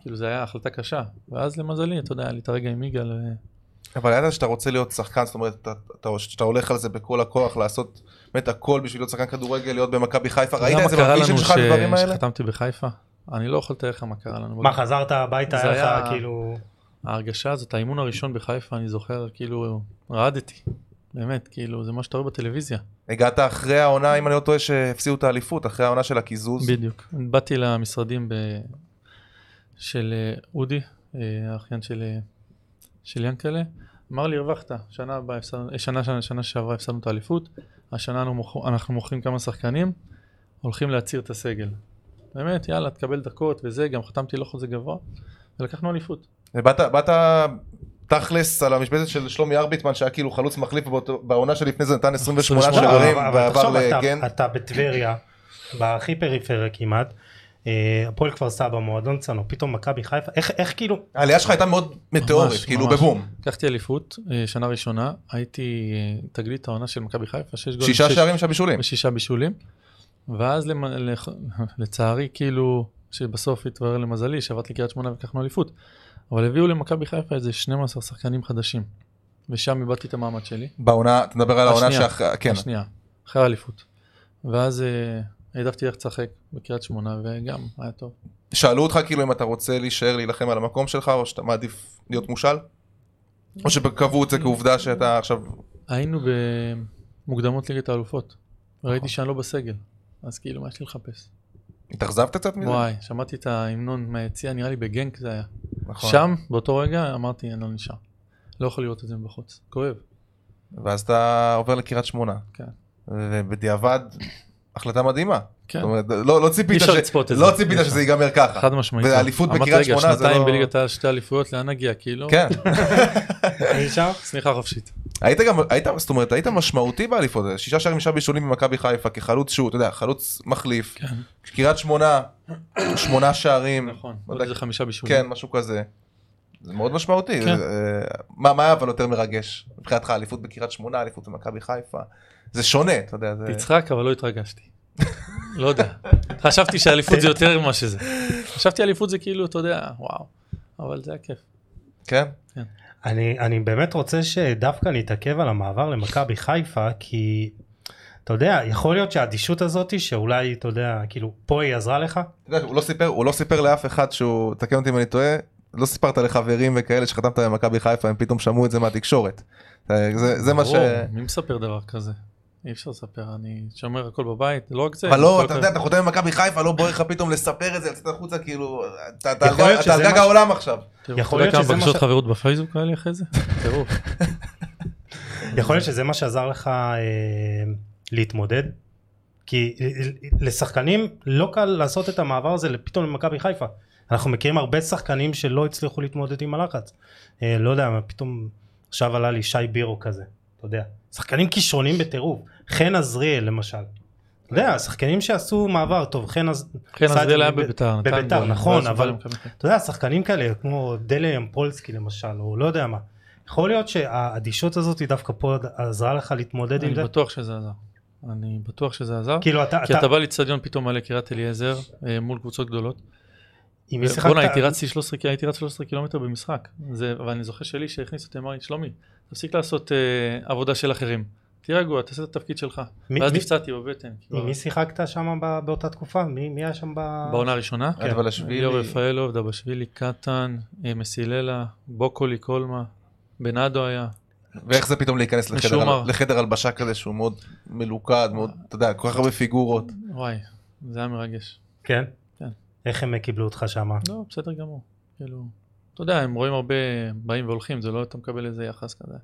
C: כאילו, זו הייתה החלטה קשה. ואז למזלי, אתה יודע, היה לי את הרגע עם יגאל, ו-
B: אבל ידעת שאתה רוצה להיות שחקן, זאת אומרת, אתה- אתה- שאתה הולך על זה בכל הכוח, לעשות באמת הכל בשביל להיות שחקן כדורגל, להיות במכבי חיפה, ראית את זה בוויז'ן שלך,
C: אתה יודע
B: הדברים
C: מה קרה לנו
B: האלה?
C: ש- שחתמתי בחיפה? אני לא יכול לתאר לך מה קרה לנו.
D: מה, חזרת הביתה,
C: זה
D: היה לך
C: היה-
D: כאילו...
C: ההרגשה הזאת, האימון הראשון בחיפה, אני זוכר, כאילו, רעדתי. באמת, כאילו, זה מה שאתה רואה בטלוויזיה.
B: הגעת אחרי העונה, אם אני לא טועה, שהפסיעו את האליפות, אחרי העונה של הקיזוז.
C: בדיוק. באתי למשרדים ב... של אה, אודי, אה, האחיין של, אה, של ינקלה, אמר לי, הרווחת, שנה, הבאה הפסדנו- אה, שנה, שנה, שנה שעברה הפסדנו את האליפות, השנה אנחנו, מוכ... אנחנו מוכרים כמה שחקנים, הולכים להצהיר את הסגל. באמת, יאללה, תקבל דקות וזה, גם חתמתי לא חוזה גבוה, ולקחנו אליפות.
B: ובאת באת תכלס על המשבצת של שלומי ארביטמן, שהיה כאילו חלוץ מחליף באותו- בעונה שלפני זה נתן 28
D: לא,
B: שערים,
D: אבל- אבל
B: ועבר
D: תחשוב, אתה-
B: לגן.
D: אתה בטבריה, בהכי פריפריה כמעט, אה, הפועל כפר סבא, מועדון צאנו, פתאום מכבי חיפה, איך- איך כאילו,
B: העלייה שלך הייתה מאוד מטאורית,
C: ממש,
B: כאילו
C: ממש.
B: בבום.
C: לקחתי אליפות, אה, שנה ראשונה, הייתי אה, תגלית העונה של מכבי חיפה, שש גולים,
B: שישה
C: לא, שש-
B: שערים, שישה בישולים.
C: ושישה בישולים. ואז למ... לח... לצערי, כאילו, שבסוף התברר למזלי, שעבדתי לקריית שמונה ולקחנו אליפות. אבל הביאו למכבי חיפה איזה 12 שחקנים חדשים. ושם איבדתי את המעמד שלי.
B: בעונה, אתה מדבר על העונה
C: השנייה.
B: שאחרי, כן.
C: השנייה, אחרי האליפות. ואז אה, העדפתי ללכת לשחק בקריית שמונה, וגם היה טוב.
B: שאלו אותך כאילו אם אתה רוצה להישאר להילחם על המקום שלך, או שאתה מעדיף להיות מושל? או שקבעו את זה כעובדה שאתה עכשיו...
C: היינו במוקדמות ליגת האלופות. ראיתי שאני לא בסגל. אז כאילו, מה יש לי לחפש?
B: התאכזבת קצת מזה?
C: וואי, שמעתי את ההמנון מהיציע, נראה לי בגנק זה היה.
B: נכון.
C: שם, באותו רגע, אמרתי, אני לא נשאר. לא יכול לראות את זה מבחוץ. כואב.
B: ואז אתה עובר לקריית שמונה.
C: כן.
B: ובדיעבד, החלטה מדהימה.
C: כן,
B: זאת אומרת, לא לא
C: אי
B: ציפית
C: אפשר
B: ש-
C: לצפות את זה.
B: לא ציפית
C: אי אפשר.
B: שזה ייגמר ככה.
C: חד משמעית. לא.
B: ואליפות בקריית שמונה זה
C: אמרתי, רגע, שנתיים
B: לא-
C: בליגת העל, שתי אליפויות, לאן נגיע? כאילו,
B: כן.
D: אי אפשר?
C: צניחה חופשית.
B: היית גם, היית, זאת אומרת, היית משמעותי באליפות הזאת. שישה שערים, שישה בישולים במכבי חיפה, כחלוץ שהוא, אתה יודע, חלוץ מחליף.
C: כן.
B: קריית שמונה, שמונה שערים.
C: נכון.
B: לא
C: עוד
B: יודע,
C: איזה חמישה בישולים.
B: כן, משהו כזה. זה מאוד משמעותי.
C: כן.
B: זה, אה, מה מה היה אבל יותר מרגש? מבחינתך אליפות בקריית שמונה, אליפות במכבי חיפה. זה שונה, אתה יודע. זה-
C: תצחק, אבל לא התרגשתי. לא יודע. חשבתי שאליפות זה יותר ממה שזה. חשבתי אליפות זה כאילו, אתה יודע, וואו. אבל זה היה כיף.
B: כן?
D: אני, אני באמת רוצה שדווקא נתעכב על המעבר למכבי חיפה כי אתה יודע יכול להיות שהאדישות הזאת שאולי אתה יודע כאילו פה היא עזרה לך
B: אתה יודע, הוא לא סיפר, הוא לא סיפר לאף אחד שהוא, תקן אותי אם אני טועה, לא סיפרת לחברים וכאלה שחתמת במכבי חיפה, הם פתאום שמעו את זה מהתקשורת. אה, זה זה מה ש...
C: ברור, מי מספר דבר כזה? אי אפשר לספר, אני שומר הכל בבית, לא רק זה.
B: אבל
C: הכל
B: לא, אתה יודע,
C: כזה.
B: אתה חותם במכבי חיפה, לא בוער לך פתאום לספר את זה, לצאת החוצה, כאילו, אתה אתה על
D: יכול להיות
B: גג-
D: שזה
B: אתה על גג
D: מה-
B: העולם עכשיו.
C: תראו,
D: יכול
C: אתה יודע
D: להיות
C: כמה
D: שזה מה
C: בקשות
D: ש-
C: חברות בפייסבוק היה לי אחרי זה? תראו,
D: יכול להיות שזה מה שעזר לך אה, להתמודד? כי אה, לשחקנים לא קל לעשות את המעבר הזה פתאום למכבי חיפה. אנחנו מכירים הרבה שחקנים שלא הצליחו להתמודד עם הלחץ. אה, לא יודע, מה, פתאום עכשיו עלה לי שי בירו כזה, אתה יודע. שחקנים כישרונים בטירוף. חן עזריאל למשל. אתה יודע, שחקנים שעשו מעבר טוב, חן עז-
C: כן, אז
D: עשה את
C: זה
D: זה
C: היה
D: בב-
C: בביתר. נתן
D: בביתר,
C: גול,
D: נכון,
C: ואז
D: אבל-
C: בא למכבי חיפה.
D: אתה יודע, שחקנים כאלה, כמו דלה ימפולסקי למשל, או לא יודע מה. יכול להיות שהאדישות הזאת היא דווקא פה עזרה לך להתמודד עם
C: אני
D: זה.
C: בטוח שזה עזר. אני בטוח שזה עזר.
D: כאילו אתה,
C: כי אתה בא לאיצטדיון פתאום מלא קריית אליעזר אה, מול קבוצות גדולות.
D: אם
C: אה, בואנה הייתי רצתי 13 כי- הייתי רץ 13 קילומטר במשחק. זה- ואני זוכר שלי שהכניס אותי אמר לי שלומי תפסיק לעשות אה, עבודה של אחרים. תהיה רגוע תעשה את התפקיד שלך.
D: מי-
C: ואז
D: מי-
C: נפצעתי בבטן.
D: עם מי שיחקת שם ב- באותה תקופה? מי, מי היה שם ב...
C: בעונה הראשונה.
D: כן.
B: אבל
C: ליאור רפאלוב, דבשווילי, קטן, אה, מסיללה, בוקולי, קולמה, בנאדו היה.
B: ואיך זה פתאום להיכנס לחדר
C: משומר.
B: הל- לחדר הלבשה כזה שהוא מאוד מלוכד, מאוד, אתה יודע, כל כך הרבה פיגורות.
C: וואי, זה היה מרגש.
D: כן?
C: כן.
D: איך הם קיבלו אותך שם?
C: לא, בסדר גמור. כאילו, אתה יודע, הם רואים הרבה באים והולכים, זה לא אתה מקבל איזה יחס כזה.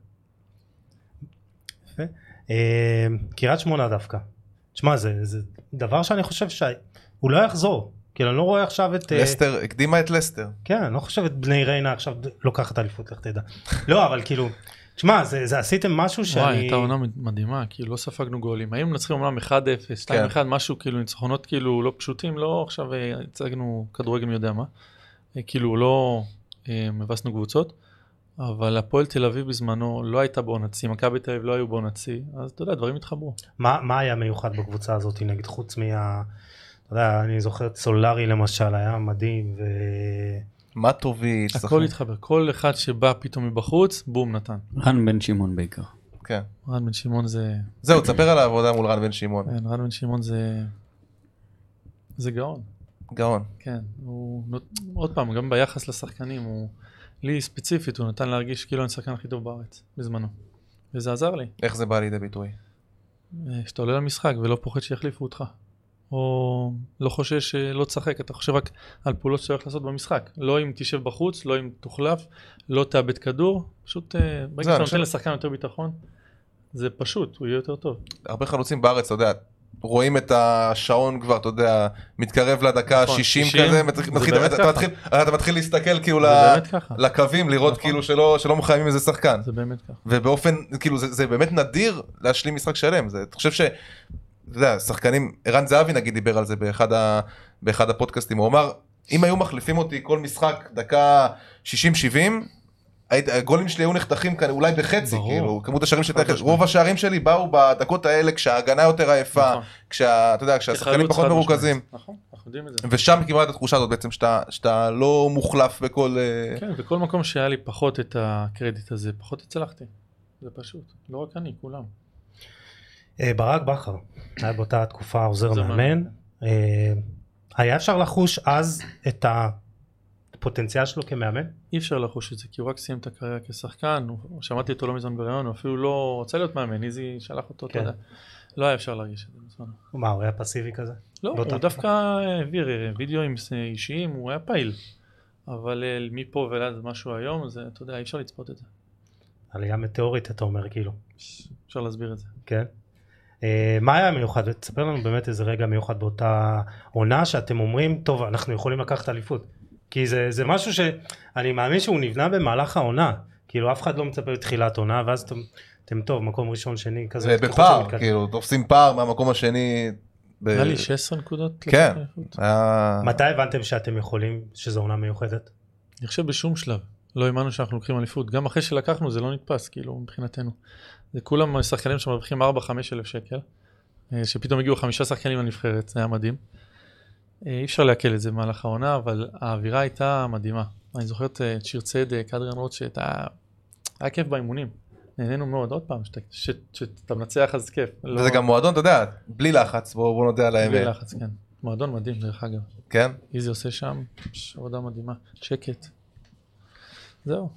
D: אה, קריית שמונה דווקא. תשמע, זה, זה דבר שאני חושב שהוא לא יחזור. כאילו, אני לא רואה עכשיו את... אה,
B: לסטר, הקדימה את לסטר.
D: כן, אני לא חושב את בני ריינה עכשיו לוקחת אליפות, לך תדע. לא, אבל כאילו... תשמע, זה, זה עשיתם משהו שאני...
C: וואי, הייתה עונה מדהימה, כאילו לא ספגנו גולים. היינו מנצחים אומנם 1-0, 2-1, משהו כאילו ניצחונות כאילו לא פשוטים, לא עכשיו אה, הצגנו כדורגל מי יודע מה. אה, כאילו לא אה, מבסנו קבוצות, אבל הפועל תל אביב בזמנו לא הייתה בעונת שיא, מכבי תל אביב לא היו בעונת שיא, אז אתה יודע, דברים התחברו.
D: מה, מה היה מיוחד בקבוצה הזאת נגיד חוץ מה... אתה יודע, אני זוכר את סולארי למשל, היה מדהים, ו...
B: מטוביץ',
C: הכל
B: שחקן-
C: התחבר, כל אחד שבא פתאום מבחוץ, בום, נתן.
E: רן בן שמעון בעיקר.
B: כן.
C: רן בן שמעון זה
B: זהו, תספר על העבודה מול רן בן שמעון.
C: כן, רן בן שמעון זה... זה גאון,
B: גאון.
C: כן. הוא... נות- עוד פעם, גם ביחס לשחקנים, הוא... לי ספציפית, הוא נתן להרגיש כאילו אני השחקן הכי טוב בארץ, בזמנו. וזה עזר לי.
B: איך זה בא לידי ביטוי?
C: אה, שאתה עולה למשחק ולא פוחד שיחליפו אותך. או לא חושש שלא תשחק, אתה חושב רק על פעולות שאתה הולך לעשות במשחק. לא אם תשב בחוץ, לא אם תוחלף, לא תאבד כדור. פשוט אה, ברגע שאתה
B: אני
C: נותן
B: חושב-
C: לשחקן יותר ביטחון, זה פשוט, הוא יהיה יותר טוב.
B: הרבה חלוצים בארץ, אתה יודע, רואים את השעון כבר, אתה יודע, מתקרב לדקה
C: נכון,
B: ה-60
C: שישים,
B: כזה,
C: זה
B: מתחיל-
C: באמת
B: מתחיל- אתה
C: ככה.
B: מתחיל- אתה מתחיל להסתכל כאילו
C: זה
B: ל-
C: באמת ככה.
B: לקווים, לראות
C: נכון.
B: כאילו שלא שלא מחייבים איזה שחקן.
C: זה באמת ככה.
B: ובאופן כאילו זה, זה באמת נדיר להשלים משחק שלם זה אתה חושב ש... אתה יודע, שחקנים ערן זהבי נגיד דיבר על זה באחד, ה, באחד הפודקאסטים הוא אמר אם היו מחליפים אותי כל משחק דקה 60-70 היית- הגולים שלי היו נחתכים כאן אולי בחצי
C: ברור.
B: כאילו כמות השערים שלי
C: חד
B: הייתה-
C: משמעית.
B: רוב השערים שלי באו בדקות האלה כשההגנה יותר עייפה
C: נכון.
B: כשה, אתה יודע, כשהשחקנים
C: כחלוץ
B: פחות
C: חד
B: מרוכזים
C: משמעית. נכון, אנחנו יודעים את זה.
B: ושם קיבלת את התחושה הזאת בעצם שאתה, שאתה לא מוחלף בכל אה,
C: כן, בכל מקום שהיה לי פחות את הקרדיט הזה, פחות הצלחתי. זה פשוט, לא רק אני, כולם.
D: אה, ברק בכר, היה באותה תקופה עוזר
C: זה
D: מאמן.
C: מאמן.
D: אה, היה אפשר לחוש אז את הפוטנציאל שלו כמאמן?
C: אי אפשר לחוש את זה, כי הוא רק סיים את הקריירה כשחקן, הוא- שמעתי אותו לא מזמן בראיון, הוא אפילו לא רצה להיות מאמן, איזי שלח אותו, אתה
D: כן.
C: יודע. לא היה אפשר להרגיש את זה בזמן.
D: מה, הוא היה פסיבי כזה?
C: לא,
D: באותה
C: הוא
D: תקופה.
C: דווקא העביר אה, וידאוים אה, אישיים, הוא היה פעיל. אבל אה, מפה ועד משהו היום, זה, אתה יודע, אי אפשר לצפות את זה.
D: עלייה מטאורית אתה אומר כאילו,
C: אפשר להסביר את זה.
D: כן? אה, מה היה מיוחד? תספר לנו באמת איזה רגע מיוחד באותה עונה שאתם אומרים, טוב, אנחנו יכולים לקחת אליפות. כי זה, זה משהו שאני מאמין שהוא נבנה במהלך העונה. כאילו אף אחד לא מצפה לתחילת עונה, ואז אתם, אתם טוב, מקום ראשון, שני, כזה.
B: זה
D: ככל
B: בפער
D: שמתקדם.
B: כאילו תופסים פער מהמקום השני. ב-
C: היה לי 16 נקודות.
B: כן.
C: לקחת אליפות.
B: היה-
D: מתי הבנתם שאתם יכולים, שזו עונה מיוחדת?
C: אני חושב בשום שלב לא האמנו שאנחנו לוקחים אליפות. גם אחרי שלקחנו זה לא נתפס, כאילו, מבחינתנו. זה כולם שחקנים שמרוויחים 4-5 אלף שקל, אה, שפתאום הגיעו חמישה שחקנים לנבחרת, זה היה מדהים. אה, אי אפשר לעכל את זה במהלך העונה, אבל האווירה הייתה מדהימה. אני זוכר את אה, את שיר צדק, אדריאן רוטשט, היה היה כיף באימונים. נהנינו מאוד, עוד פעם, שאתה- ש- שאתה מנצח אז כיף.
B: וזה גם מועדון אתה יודע בלי לחץ בוא בוא נודה על
C: לא? בלי
B: האמת
C: לחץ, כן. מועדון מדהים, דרך אגב.
B: כן
C: איזי עושה שם, פש, עבודה מדהימה. שקט, זהו.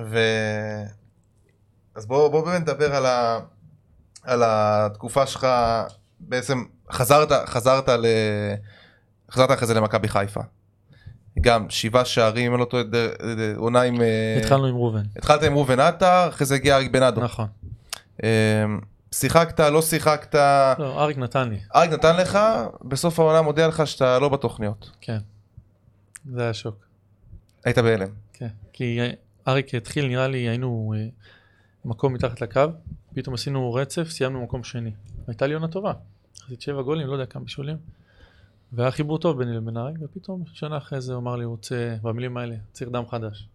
B: ו... אז בואו בוא באמת נדבר על, ה... על התקופה שלך, בעצם חזרת, חזרת, ל... חזרת אחרי זה למכבי חיפה. גם שבעה שערים, אני לא טועה, ד- ד- עונה עם... אה,
C: התחלנו עם ראובן.
B: התחלת עם ראובן עטר, אחרי זה הגיע אריק בנאדו.
C: נכון.
B: אה, שיחקת, לא שיחקת,
D: אה.
C: לא, אריק נתן לי,
B: אריק נתן לך, בסוף העונה מודיע לך שאתה לא בתוכניות.
C: כן. זה היה שוק.
B: היית בהלם.
C: כן, כי אריק התחיל, נראה לי, היינו אה, מקום מתחת לקו, פתאום עשינו רצף, סיימנו מקום שני. הייתה לי עונה טובה, עשיתי שבע גולים, לא יודע כמה בישולים, והיה חיבור טוב ביני לבין אריק, ופתאום שנה אחרי זה הוא אמר לי, הוא רוצה, במילים האלה, צריך דם חדש.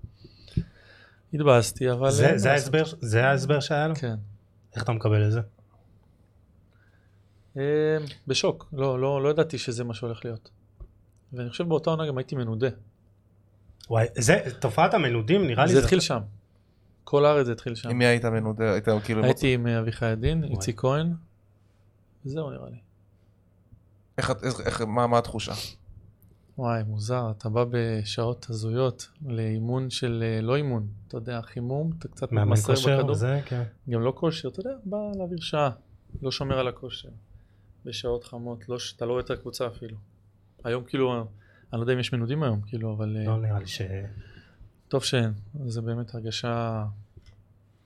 C: התבאסתי, אבל...
D: זה-
C: אין
D: זה
C: מה
D: ההסבר- זה ההסבר שהיה לו?
C: לעשות. כן.
D: איך אתה מקבל את זה?
C: אה, בשוק, לא, לא, לא ידעתי שזה מה שהולך להיות. ואני חושב באותה עונה גם הייתי מנודה.
D: וואי, זה תופעת המנודים נראה לי.
C: זה התחיל שם. כל הארץ זה התחיל שם.
B: עם מי היית מנודה? היית כאילו...
C: כן. הייתי עם אה, אביחי עדין, איציק כהן, וזהו נראה לי.
B: איך, איך, איך, מה, מה התחושה?
C: וואי, מוזר, אתה בא בשעות הזויות לאימון של אה, לא אימון, אתה יודע, חימום, אתה קצת
D: מאמן
C: מתמסר
D: כושר,
C: בכדור,
D: זה כן.
C: גם לא כושר, אתה יודע, בא להעביר שעה, לא שומר על הכושר, בשעות חמות, לא, ש- אתה לא רואה את הקבוצה אפילו. היום כאילו, אני לא יודע אם יש מנודים היום, כאילו, אבל אה,
D: לא נראה לי ש...
C: טוב שאין, זה באמת הרגשה,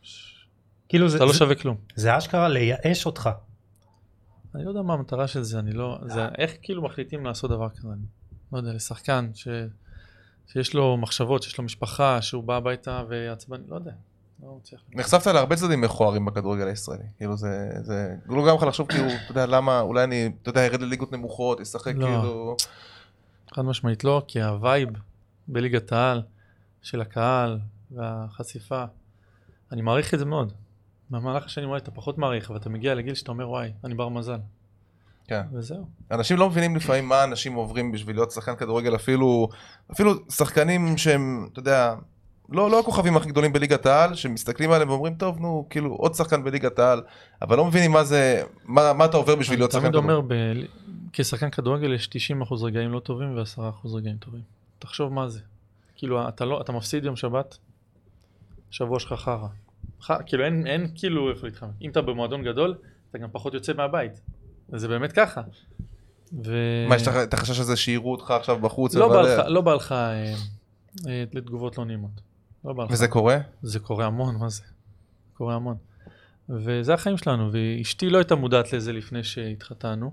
C: ש-
D: כאילו זה-
C: אתה לא
D: זה-
C: שווה כלום.
D: זה אשכרה לייאש אותך.
C: אני לא יודע מה המטרה של זה, אני לא... זה איך כאילו מחליטים לעשות דבר כזה? אני לא יודע, לשחקן ש... שיש לו מחשבות, שיש לו משפחה, שהוא בא הביתה ועצבני, לא יודע. לא מצליח.
B: נחשפת להרבה צדדים מכוערים בכדורגל הישראלי. כאילו זה, זה, לא גרם לך לחשוב כאילו, אתה יודע, למה, אולי אני, אתה יודע, ארד לליגות נמוכות, אשחק
C: לא.
B: כאילו...
C: חד משמעית לא, כי הווייב בליגת העל של הקהל והחשיפה, אני מעריך את זה מאוד. במהלך השנים וואי אתה פחות מעריך, אבל אתה מגיע לגיל שאתה אומר וואי, אני בר מזל.
B: כן.
C: וזהו.
B: אנשים לא מבינים לפעמים מה אנשים עוברים בשביל להיות שחקן כדורגל, אפילו, אפילו שחקנים שהם, אתה יודע, לא, לא הכוכבים הכי גדולים בליגת העל, שמסתכלים עליהם ואומרים, טוב, נו, כאילו, עוד שחקן בליגת העל, אבל לא מבינים מה זה, מה, מה אתה עובר בשביל להיות שחקן
C: תמיד
B: כדורגל.
C: אומר, ב- כשחקן כדורגל יש 90% רגעים לא טובים ו-10% רגעים טובים. תחשוב מה זה. כאילו, אתה, לא, אתה מפסיד יום שבת, שבוע שלך חרא. ח- כאילו, אין, אין כאילו איפה להתחמק. אם אתה במועדון גדול, אתה גם פחות יוצא מהבית. זה באמת ככה. ו...
B: מה, יש לך את החשש הזה שיראו אותך עכשיו בחוץ?
C: אה, לא בא
B: לבלה?
C: לך, לא בא לך אה, אה, לתגובות לא נעימות. לא בא לך.
B: וזה קורה?
C: זה קורה המון, מה זה? קורה המון. וזה החיים שלנו, ואשתי לא הייתה מודעת לזה לפני שהתחתנו,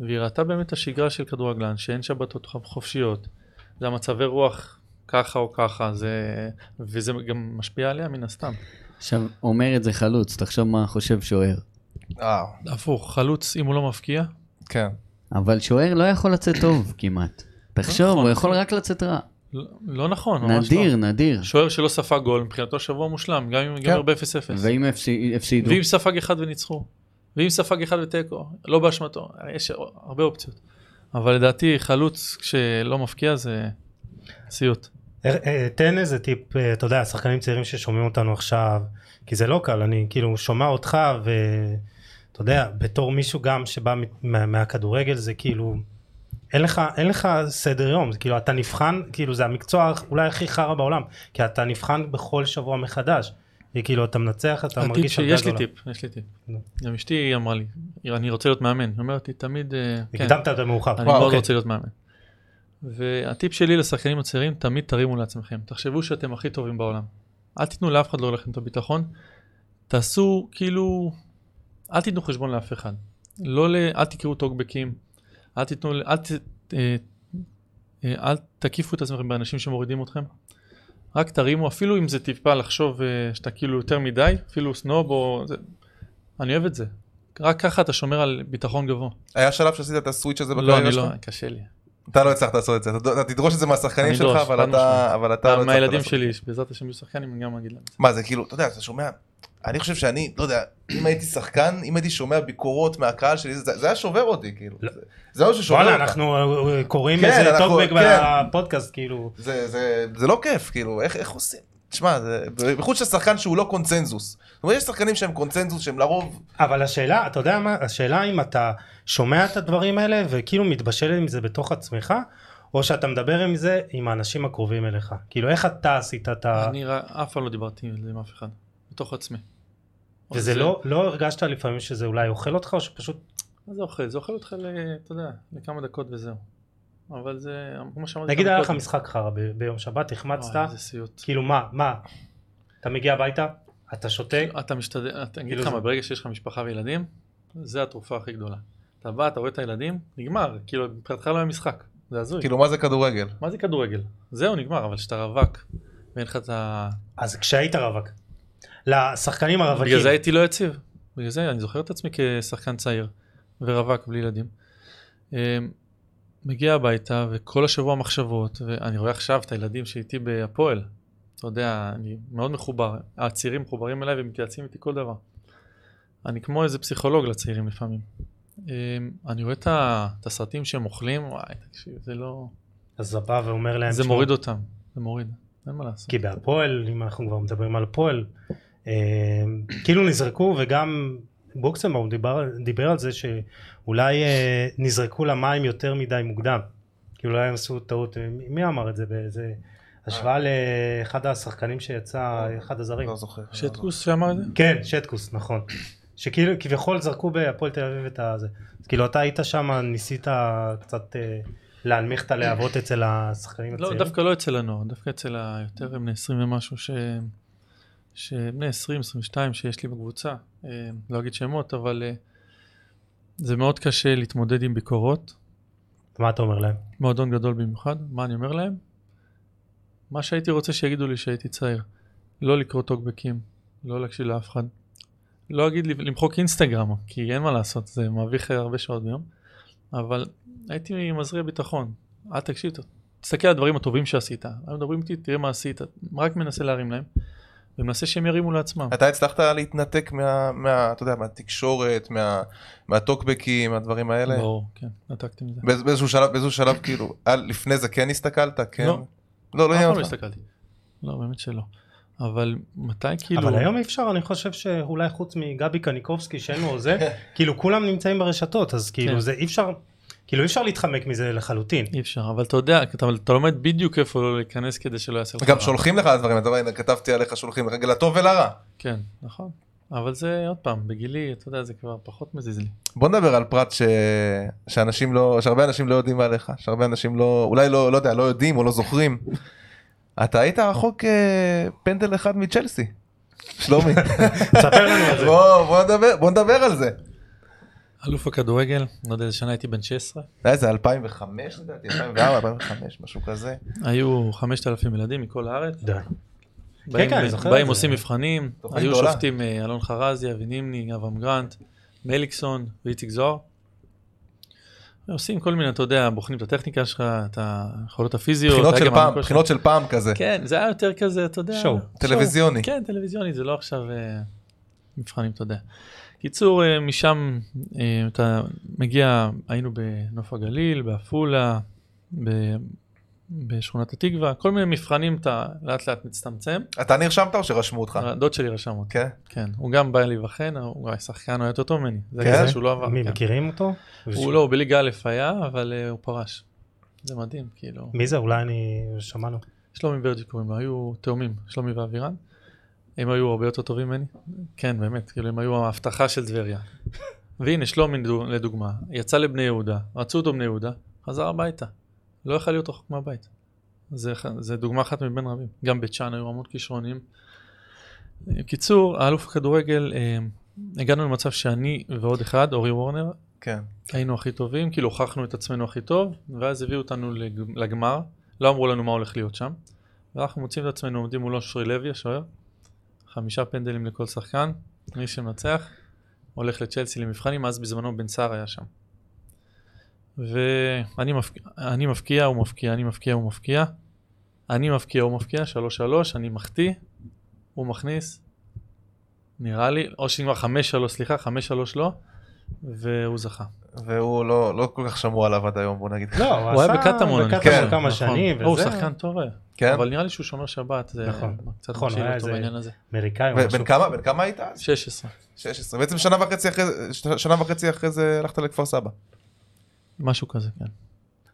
C: והיא ראתה באמת את השגרה של כדורגלן, שאין שבתות חופ- חופשיות, זה המצבי רוח ככה או ככה, זה... וזה גם משפיע עליה מן הסתם.
E: עכשיו, אומר את זה חלוץ, תחשוב מה חושב שוער.
B: אה,
C: הפוך, חלוץ, אם הוא לא מפקיע,
B: כן.
E: אבל שוער לא יכול לצאת טוב כמעט. תחשוב, הוא יכול רק לצאת רע.
C: לא, לא נכון, ממש לא.
E: נדיר, נדיר.
C: שוער שלא ספג גול, מבחינתו שבוע מושלם, גם אם
E: כן.
C: ייגמר ב-0-0.
E: ואם הפס- הפסידו,
C: ואם ספג אחד וניצחו, ואם ספג אחד ותיקו, לא באשמתו, יש הרבה אופציות. אבל לדעתי חלוץ כשלא מפקיע זה סיוט.
D: אה, אה, תן איזה טיפ, אה, אתה יודע, שחקנים צעירים ששומעים אותנו עכשיו, כי זה לא קל, אני כאילו שומע אותך ואתה יודע, בתור מישהו גם שבא מת- מה- מהכדורגל זה כאילו, אין לך, אין לך סדר יום, זה כאילו אתה נבחן, כאילו זה המקצוע אולי הכי חרא בעולם, כי אתה נבחן בכל שבוע מחדש, וכאילו אתה מנצח, אתה
C: הטיפ
D: מרגיש...
C: שיש לי
D: גדולה.
C: טיפ, יש לי טיפ.
D: נו.
C: גם אשתי אמרה לי, אני רוצה להיות מאמן. היא אומרת לי תמיד, אה, כן,
D: הקדמת יותר מאוחר.
C: אני
B: וואו,
C: מאוד
B: אוקיי.
C: רוצה להיות מאמן. והטיפ שלי לשחקנים הצעירים, תמיד תרימו לעצמכם. תחשבו שאתם הכי טובים בעולם. אל תיתנו לאף אחד להוריד לכם את הביטחון. תעשו כאילו, אל תיתנו חשבון לאף אחד. לא ל... אל תקראו טוקבקים. אל תיתנו... ל- אל, ת... אה, אה, אל תקיפו את עצמכם באנשים שמורידים אתכם. רק תרימו, אפילו אם זה טיפה לחשוב אה, שאתה כאילו יותר מדי, אפילו סנוב או... זה... אני אוהב את זה. רק ככה אתה שומר על ביטחון גבוה.
B: היה שלב שעשית את הסוויץ' הזה
C: לא,
B: בקריירה
C: אני
B: שלך?
C: לא, קשה לי.
B: אתה לא הצלחת לעשות את זה, אתה אתה תדרוש את זה מהשחקנים
C: אני
B: שלך,
C: אדרוש,
B: אבל
C: חד
B: אתה
C: משמעית.
B: אבל אתה לא
C: גם
B: הצלחת
C: מהילדים
B: לעשות.
C: שלי, שבעזרת השם יהיו שחקנים, אני גם אגיד להם.
B: מה זה כאילו, אתה יודע, אתה שומע, אני חושב שאני, לא יודע, אם הייתי שחקן, אם הייתי שומע ביקורות מהקהל שלי, זה זה היה שובר אותי, כאילו.
D: לא.
B: זה- זה משהו ששובר
D: וואלה,
B: אותך.
D: אנחנו אה, אה, קוראים
B: כן,
D: איזה
B: אנחנו-
D: טוקבק
B: כן.
D: בפודקאסט, כאילו.
B: זה, זה, זה לא כיף, כאילו, איך, איך עושים? תשמע, זה- בחוץ של שחקן שהוא לא קונצנזוס. זאת אומרת, יש שחקנים שהם קונצנזוס, שהם לרוב...
D: אבל השאלה, אתה יודע מה, השאלה אם אתה שומע את הדברים האלה וכאילו מתבשל עם זה בתוך עצמך, או שאתה מדבר עם זה עם האנשים הקרובים אליך. כאילו איך אתה עשית את ה...
C: אני ר- אף פעם לא דיברתי על זה עם אף אחד, בתוך עצמי.
D: וזה לא, לא הרגשת לפעמים שזה אולי אוכל אותך או שפשוט
C: מה זה אוכל? זה אוכל אותך, ל- אתה יודע, לכמה דקות וזהו. אבל זה, כמו שאמרתי,
D: נגיד היה לך
C: לא, קודם,
D: משחק חרא ב- ביום שבת החמצת
C: וואי, איזה סיוט.
D: כאילו מה מה אתה מגיע הביתה אתה שותה
C: אתה משתדל, אתה- אני אגיד
D: כאילו
C: לך
D: זה-
C: מה, ברגע שיש לך משפחה וילדים, זה התרופה הכי גדולה. אתה בא, אתה רואה את הילדים, נגמר, כאילו מבחינתך לא היה משחק, זה הזוי.
B: כאילו מה זה כדורגל?
C: מה זה כדורגל? זהו, נגמר, אבל כשאתה רווק, ואין לך את ה...
D: אז כשהיית רווק לשחקנים הרווקים
C: בגלל זה הייתי לא יציב. בגלל זה אני זוכר את עצמי כשחקן צעיר ורווק בלי ילדים. אמ, מגיע הביתה וכל השבוע מחשבות, ואני רואה עכשיו את הילדים שאיתי בהפועל. אתה יודע, אני מאוד מחובר, הצעירים מחוברים אליי ומתייעצים איתי כל דבר. אני כמו איזה פסיכולוג לצעירים לפעמים. אמ, אני רואה את ה- את הסרטים שהם אוכלים, וואי, תקשיב, זה לא...
D: אז אתה בא ואומר להם
C: זה
D: "שמע,
C: מוריד אותם, זה מוריד, אין מה לעשות.
D: כן, כי בהפועל אם אנחנו כבר מדברים על הפועל אה, כאילו נזרקו וגם בוקסנבאום דיבר, דיבר על זה שאולי אה, נזרקו למים יותר מדי מוקדם כאילו אולי הם עשו טעות מי- מי אמר את זה באיזה השוואה לאחד השחקנים שיצא אחד הזרים
B: לא זוכר. לא זוכר.
C: שטקוס שאמר את זה?
D: כן, שטקוס, נכון. שכאילו, כביכול זרקו בהפועל תל אביב את הזה. אז כאילו, אתה היית שם, ניסית קצת אה, להנמיך את הלהבות אצל השחקנים
C: לא,
D: הצעירים?
C: דווקא לא אצל הנוער, דווקא אצל היותר בני 20 ומשהו, ש... שבני 20, 22 שיש לי בקבוצה, אה, לא אגיד שמות, אבל אה, זה מאוד קשה להתמודד עם ביקורות,
D: מה אתה אומר להם?
C: מועדון גדול במיוחד, מה אני אומר להם? מה שהייתי רוצה שיגידו לי שהייתי צעיר, לא לקרוא טוקבקים, לא להקשיב לאף אחד, לא אגיד לי- למחוק אינסטגרם, כי אין מה לעשות, זה מביך הרבה שעות ביום, אבל הייתי מזריע ביטחון, אל אה, תקשיב, ת- תסתכל על הדברים הטובים שעשית, הם מדברים איתי, תראה מה עשית, רק מנסה להרים להם, ומנסה שהם ירימו לעצמם.
B: אתה הצלחת להתנתק מה, מה, אתה יודע, מהתקשורת, מה, מהטוקבקים, מהדברים האלה?
C: ברור, כן, נתקתי מזה.
B: באיז- באיזשהו שלב, באיזשהו שלב כאילו, אה, לפני זה כן הסתכלת? כן.
C: לא.
B: לא, לא
C: אף
B: עניין
C: פעם לא
B: אותך.
C: הסתכלתי. לא, באמת שלא. אבל מתי כאילו...
D: אבל היום אי אפשר, אני חושב שאולי חוץ מגבי קניקובסקי שאין לו זה, כאילו כולם נמצאים ברשתות, אז
C: כן.
D: כאילו זה אי אפשר, כאילו אי אפשר להתחמק מזה לחלוטין.
C: אי אפשר, אבל אתה יודע, אתה, אתה לומד בדיוק איפה לא להיכנס כדי שלא יעשה לך
B: גם
C: רע.
B: שולחים לך על הדברים, אתה רואה, הנה, כתבתי עליך, שולחים לך, לטוב ולרע.
C: כן, נכון. אבל זה עוד פעם, בגילי, אתה יודע, זה כבר פחות מזיז לי.
B: בוא נדבר על פרט ש... שאנשים לא, שהרבה אנשים לא יודעים עליך, שהרבה אנשים לא, אולי לא, לא יודע, לא יודעים או לא זוכרים. אתה היית רחוק אה, פנדל אחד מצ'לסי, שלומי.
D: ספר לנו על זה.
B: בוא, בוא, נדבר, בוא נדבר על זה.
C: אלוף הכדורגל, לא יודע איזה שנה הייתי בן 16,
B: אה, זה היה איזה 2005 לדעתי, 2004, 2005, משהו כזה.
C: היו 5,000 ילדים מכל הארץ.
D: די.
C: באים-
D: כן, אני זוכר את
C: באים
D: זה.
C: עושים מבחנים,
B: תוכנית
C: היו
B: גדולה.
C: שופטים אה, אלון חרזי, אבי נימני, אברהם גרנט, מליקסון ואיציק זוהר. עושים כל מיני, אתה יודע, בוחנים את הטכניקה שלך, את היכולות הפיזיות.
B: בחינות
C: היה
B: של
C: גם
B: פעם,
C: המקום שלך.
B: בחינות של פעם כזה.
C: כן, זה היה יותר כזה, אתה יודע.
D: שואו,
B: טלוויזיוני.
C: כן, טלוויזיוני, זה לא עכשיו אה, מבחנים, אתה יודע. קיצור, אה, משם אה, אתה מגיע, היינו בנוף הגליל, בעפולה, ב- בשכונת התקווה, כל מיני מבחנים אתה לאט לאט מצטמצם.
B: אתה נרשמת או שרשמו אותך?
C: הדוד שלי רשם אותי,
B: כן.
C: כן. הוא גם בא להיבחן, הוא היה שחקן, הוא היה יותר טוב ממני. זה
B: כן?
C: כזה שהוא לא עבר.
D: מי,
C: כן.
D: מכירים אותו?
C: הוא לא, הוא בליגה א' היה, אבל אה, הוא פרש. זה מדהים, כאילו.
D: מי זה? אולי אני... שמענו.
C: שלומי ורג'י קוראים לו, היו תאומים, שלומי ואבירן. הם היו הרבה יותר טובים ממני. כן, באמת, כאילו הם היו ההבטחה של טבריה. והנה, שלומי לדוג- לדוגמה, יצא לבני יהודה, רצו אותו בני יהודה, חזר הביתה. לא יכל להיות רחוק מהבית. זה, ח- זה דוגמה אחת מבין רבים. גם בית שאן היו המון כישרונים. קיצור, האלוף הכדורגל, אה, הגענו למצב שאני ועוד אחד, אורי וורנר,
B: כן.
C: היינו הכי טובים, כאילו הוכחנו את עצמנו הכי טוב, ואז הביאו אותנו לג- לגמר, לא אמרו לנו מה הולך להיות שם, ואנחנו מוצאים את עצמנו עומדים מול אושרי לוי, השוער, חמישה פנדלים לכל שחקן, מי שמנצח, הולך לצ'לסי למבחנים, אז בזמנו בן סער היה שם. ואני מפק... אני מפקיע, הוא מפקיע, אני מפקיע, הוא מפקיע, אני מפקיע, הוא מפקיע, שלוש שלוש, אני מחטיא, הוא מכניס, נראה לי, או שכבר חמש שלוש, סליחה, חמש שלוש לא, והוא זכה.
B: והוא לא, לא כל כך שמעו עליו עד היום, בוא נגיד.
D: לא, הוא
C: הוא היה
D: עשה
C: בקטמון, אני
B: כן,
D: בקטמון כמה
C: נכון.
D: שנים,
C: הוא
D: וזה.
C: שחקן טוב היה,
B: כן?
C: אבל נראה לי שהוא שומר שבת, זה
D: נכון.
C: קצת
D: נכון,
C: מכשיל
D: היה
C: אותו
D: איזה-
C: בעניין הזה.
D: אמריקאי או משהו.
B: ובן כמה, בן כמה היית אז?
C: 16,
B: 16. בעצם שנה וחצי אחרי, זה- שנה וחצי אחרי זה הלכת לכפר סבא.
C: משהו כזה, כן.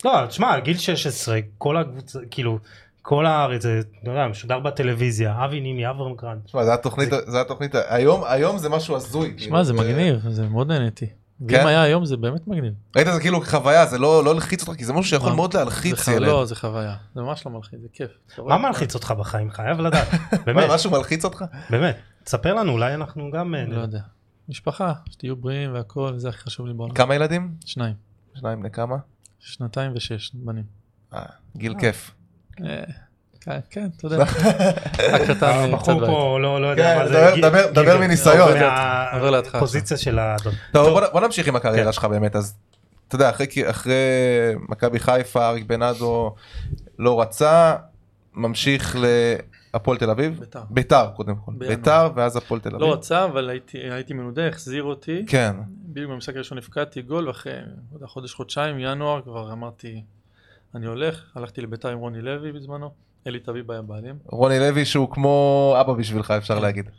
D: לא, תשמע, גיל 16, כל הקבוצה, כאילו, כל הארץ, זה, אתה יודע, משודר בטלוויזיה, אבי נימי, אברהם גרנד.
B: תשמע, זה התוכנית, זה התוכנית, היום, היום זה משהו הזוי.
C: שמע
B: כאילו,
C: זה מגניב, זה מאוד נהניתי.
B: כן?
C: ואם היה היום זה באמת מגניב.
B: ראית זה כאילו חוויה, זה לא לא הלחיץ אותך, כי זה משהו שיכול
C: מה?
B: מאוד
C: נכון. זה
B: להלחיץ
C: חו-
B: ילד.
C: לא, זה חוויה. זה ממש לא מלחיץ, זה כיף. אתה
D: מה
C: רואה?
D: מלחיץ אותך בחיים? חייב לדעת.
B: מה,
D: באמת,
B: משהו מלחיץ אותך?
C: נכון.
D: באמת. תספר לנו, אולי אנחנו גם... אה,
C: לא יודע. משפחה, שתהיו בריאים והכל, זה הכי חשוב לי בעולם.
B: כמה ילדים?
C: שניים.
B: שניים לכמה?
C: שנתיים ושש בנים.
B: אה, גיל כיף.
C: אה, כן, כן, אתה יודע. הקטן קצת
D: הבחור
C: בעייתי.
D: פה לא לא יודע
B: כן,
D: מה זה.
B: דבר-
D: גיל-
B: דבר- דבר
D: גיל-
B: מניסיון.
D: מה-
C: עובר לידך עכשיו.
D: פוזיציה של האדון.
B: טוב, בוא נ- בוא נמשיך עם
D: כן.
B: הקריירה שלך באמת, אז אתה יודע, אחרי כי- אחרי מכבי חיפה, אריק בנאדו לא רצה, ממשיך להפועל תל אביב?
C: בית"ר.
B: ביתר קודם כל,
C: בינואר.
B: ביתר ואז הפועל תל
C: לא
B: אביב.
C: רצה, אבל הייתי הייתי מנודה, החזיר אותי.
B: כן,
C: בדיוק במשחק הראשון הפקדתי גול, ואחרי לא יודע, חודש, חודשיים, ינואר, כבר אמרתי, אני הולך. הלכתי לביתר עם רוני לוי בזמנו, אלי טביב היה בעלים.
B: רוני לוי שהוא כמו אבא בשבילך אפשר
C: כן.
B: להגיד.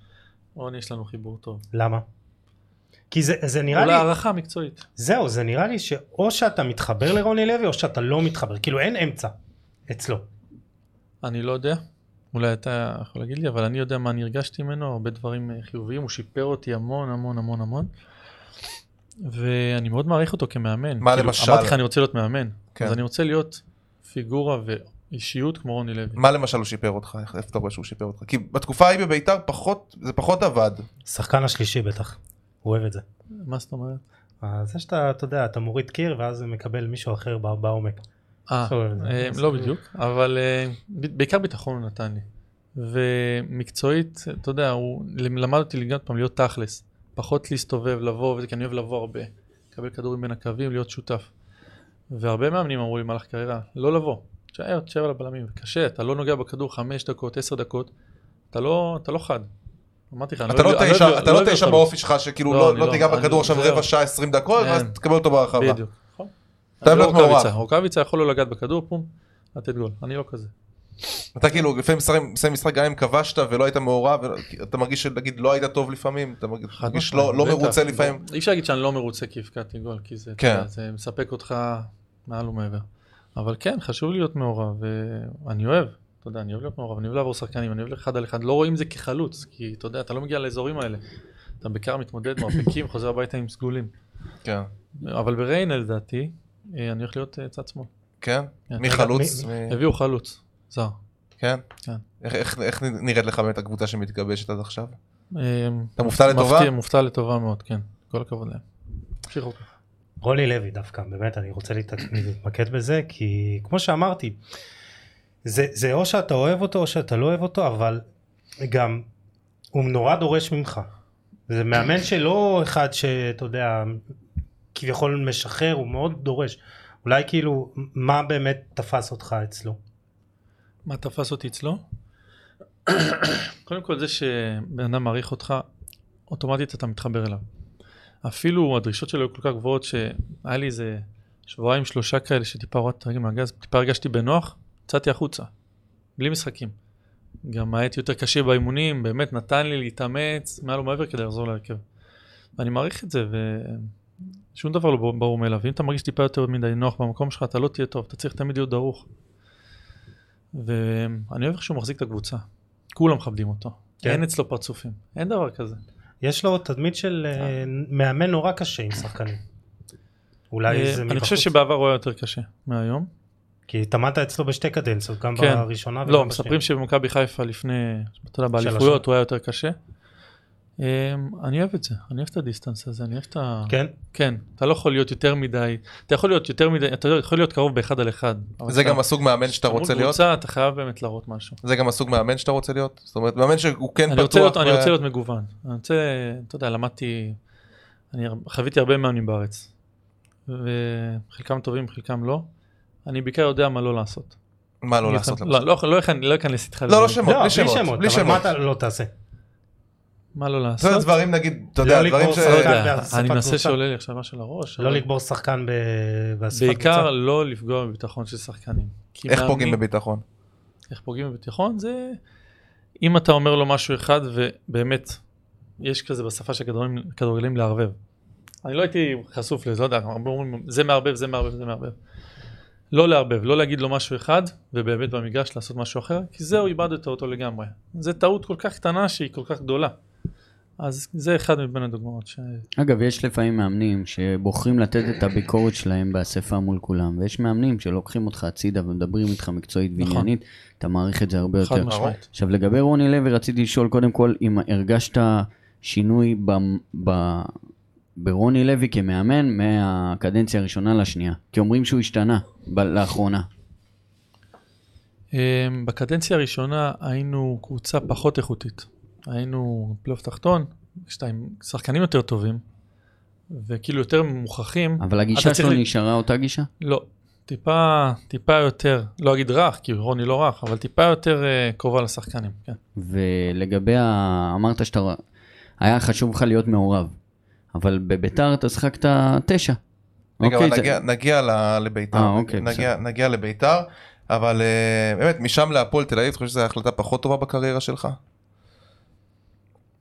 C: רוני, יש לנו חיבור טוב.
D: למה? כי זה- זה נראה
C: הוא
D: לי,
C: להערכה מקצועית.
D: זהו, זה נראה לי שאו שאתה מתחבר לרוני לוי או שאתה לא מתחבר, כאילו אין אמצע אצלו.
C: אני לא יודע, אולי אתה יכול להגיד לי, אבל אני יודע מה אני הרגשתי ממנו, הרבה דברים אה, חיוביים, הוא שיפר אותי המון המון המון המון. ואני מאוד מעריך אותו כמאמן.
B: מה
C: כאילו,
B: למשל?
C: אמרתי לך, אני רוצה להיות מאמן.
B: כן.
C: אז אני רוצה להיות פיגורה ואישיות כמו רוני לוי.
B: מה למשל הוא שיפר אותך? איך איך אתה רואה שהוא שיפר אותך? כי בתקופה ההיא בביתר פחות, זה פחות עבד.
D: שחקן השלישי בטח, הוא אוהב את זה.
C: מה זאת אומרת?
D: אה, זה שאתה, אתה יודע, אתה מוריד קיר ואז מישהו מישהו אחר בא- בעומק.
C: אה,
D: טוב,
C: אה,
D: אז-
C: לא בדיוק, אבל אה, ב- בעיקר ביטחון הוא נתן לי. ומקצועית, אתה יודע, הוא למד אותי גם פעם להיות תכלס. פחות להסתובב, לבוא, וזה כי אני אוהב לבוא הרבה. לקבל כדורים בין הקווים, להיות שותף. והרבה מאמנים אמרו לי במהלך קריירה, לא לבוא. תשאר, תשאר על הבלמים. קשה, אתה לא נוגע בכדור חמש דקות, עשר דקות. אתה לא, אתה לא חד. אמרתי לך, אני
B: אתה לא
C: אוהב- אני
B: תשע-
C: אוהב-
B: אתה
C: לא
B: לא
C: אוהב
B: תשע
C: להיות
B: באופי שלך שכאילו
C: לא,
B: לא
C: אני
B: לא
C: לא,
B: תיגע
C: אני-
B: בכדור עכשיו
C: זהו.
B: רבע שעה 20 דקות ואז
C: כן.
B: תקבל אותו ברחבה.
C: בדיוק. נכון.
B: אתה אוהב
C: אני לא
B: להיות מעורב.
C: רוקאביצה. רוקאביצה יכול לא לגעת בכדור, פום, לתת גול. אני לא כזה.
B: אתה כאילו לפעמים מסיים- מסיים משחק גם אם כבשת ולא היית מעורב ולא- כי אתה מרגיש שנגיד לא היית טוב לפעמים אתה מרגיש
C: חד
B: מרגיש
C: משמעית,
B: לא לא
C: בטח.
B: מרוצה לפעמים.
C: אי אפשר להגיד שאני לא מרוצה כי הפקדתי גול, כי זה,
B: כן.
C: אתה יודע, זה מספק אותך מעל ומעבר. אבל כן, חשוב להיות מעורב, ואני אוהב, אתה יודע, אני אוהב להיות מעורב, אני אוהב לעבור שחקנים, אני אוהב אחד על אחד, לא רואים זה כחלוץ, כי אתה יודע, אתה לא מגיע לאזורים האלה. אתה בעיקר מתמודד, מרפקים, חוזר הביתה עם סגולים.
B: כן.
C: אבל בריינה לדעתי, אה, אני הולך להיות אה, צד שמאל.
B: כן?
C: כן.
B: מי חלוץ?
D: מ-
B: מי-
C: הביאו חלוץ, זר.
B: כן?
C: כן.
B: איך- איך- איך נראית לך באמת הקבוצה שמתגבשת עד עכשיו?
C: אה,
B: אתה מופתע לטובה?
C: מפתיע, מופתע לטובה מאוד, כן. כל הכבוד להם. תמשיכו.
D: רוני לוי דווקא, באמת, אני רוצה להת- להתמקד בזה, כי כמו שאמרתי, זה, זה או שאתה אוהב אותו או שאתה לא אוהב אותו, אבל גם הוא נורא דורש ממך. זה מאמן שלא אחד שאתה יודע, כביכול משחרר, הוא מאוד דורש. אולי כאילו, מה באמת תפס אותך אצלו?
C: מה תפס אותי אצלו? קודם כל זה שבן אדם מעריך אותך, אוטומטית אתה מתחבר אליו. אפילו הדרישות שלו היו כל כך גבוהות שהיה לי איזה שבועיים שלושה כאלה שטיפה הורדתי את הרגל מהגז, טיפה הרגשתי בנוח, יצאתי החוצה, בלי משחקים. גם הייתי יותר קשה באימונים, באמת נתן לי להתאמץ מעל ומעבר כדי לחזור להרכב. ואני מעריך את זה ושום דבר לא ברור- ברור מאליו. אם אתה מרגיש טיפה יותר מדי נוח במקום שלך, אתה לא תהיה טוב, אתה צריך תמיד להיות דרוך. ואני אוהב איך שהוא מחזיק את הקבוצה. כולם מכבדים אותו.
D: כן.
C: כן. אין אצלו פרצופים, אין דבר כזה.
D: יש לו תדמית של אה, מאמן נורא קשה עם שחקנים. אולי
C: אה,
D: זה מבחוץ.
C: אני חושב שבעבר הוא היה יותר קשה מהיום.
D: כי התאמנת אצלו בשתי קדנציות, גם
C: כן.
D: בראשונה וגם
C: לא,
D: בשנייה.
C: מספרים שבמכבי חיפה לפני, אתה יודע,
D: השנים.
C: באליפויות הוא היה יותר קשה. אה, אני אוהב את זה, אני אוהב את הדיסטנס הזה, אני אוהב את ה...
D: כן?
C: כן, אתה לא יכול להיות יותר מדי, אתה יכול להיות יותר מדי, אתה יכול להיות קרוב באחד על אחד. אבל
B: זה
C: אתה-
B: גם הסוג מאמן שאתה
C: מול
B: רוצה להיות?
C: קבוצה, אתה חייב באמת להראות משהו.
B: זה גם הסוג מאמן שאתה רוצה להיות? זאת אומרת מאמן שהוא כן
C: אני רוצה,
B: פתוח.
C: להיות, אני
B: ו-
C: רוצה להיות מגוון. אני רוצה, אתה יודע, למדתי, אני הר- חוויתי הרבה מאמנים בארץ. וחלקם טובים, חלקם לא. אני בעיקר יודע מה לא לעשות.
B: מה לא
C: אני
B: לעשות?
C: אכנס-
B: למשל?
C: לא, לא, לא אכנס- לא אכנס איתך
B: לא, לא
C: לזה.
B: שמות,
D: לא,
B: בלי שמות. בלי
D: אבל מה
B: שמות.
D: אתה לא תעשה?
C: מה לא
B: זה
C: לעשות?
B: דברים נגיד, אתה
D: לא
B: יודע,
D: לקרוא
B: דברים ש...
D: סרטן.
C: לא
D: אה,
C: יודע,
D: באספת
C: אני מנסה
D: קבוצה.
C: שעולה לי עכשיו משהו לראש.
D: לא
C: אבל
D: לקבור שחקן ב- באספת
C: בעיקר
D: קבוצה?
C: לא לפגוע בביטחון של שחקנים. כי
B: איך
C: מאמנים-
B: פוגעים בביטחון.
C: איך פוגעים בביטחון? זה אם אתה אומר לו משהו אחד ובאמת יש כזה בשפה של הכדורגלנים- הכדורגלנים לערבב. אני לא הייתי חשוף לזה, לא יודע, הרבה אומרים זה מערבב, זה מערבב, זה מערבב. לא לערבב, לא להגיד לו משהו אחד, ובאמת במגרש לעשות משהו אחר, כי זהו, איבדת אותו לגמרי. זו טעות כל כך קטנה שהיא כל כך גדולה. אז זה אחד מבין הדוגמאות. ש...
E: אגב, יש לפעמים מאמנים שבוחרים לתת את הביקורת שלהם באספה מול כולם, ויש מאמנים שלוקחים אותך הצידה ומדברים איתך מקצועית
C: נכון.
E: ועניינית, אתה מעריך את זה הרבה
C: חד
E: יותר.
C: משמעית.
E: עכשיו, לגבי רוני לוי, רציתי לשאול קודם כל, אם הרגשת שינוי ב... ב... ברוני לוי כמאמן מהקדנציה הראשונה לשנייה, כי אומרים שהוא השתנה ב- לאחרונה.
C: אמ, בקדנציה הראשונה היינו קבוצה פחות איכותית. היינו פלייאוף תחתון, שתיים, שחקנים יותר טובים, וכאילו יותר מוכחים.
E: אבל
C: אתה
E: הגישה
C: צריך
E: שלו
C: ל-
E: נשארה אותה גישה?
C: לא, טיפה, טיפה יותר, לא אגיד רך, כי רוני לא רך, אבל טיפה יותר אה, קרובה לשחקנים, כן.
E: ולגבי, ה... אמרת שאתה... היה חשוב לך להיות מעורב, אבל בביתר אתה שחקת תשע.
B: רגע,
E: אוקיי,
B: אבל
E: זה-
B: נגיע- נגיע ל-
E: אה,
B: לביתר,
E: אוקיי,
B: נגיע- נגיע לביתר, אבל אה, באמת משם להפועל תל אביב, אתה חושב שזו החלטה פחות טובה בקריירה שלך?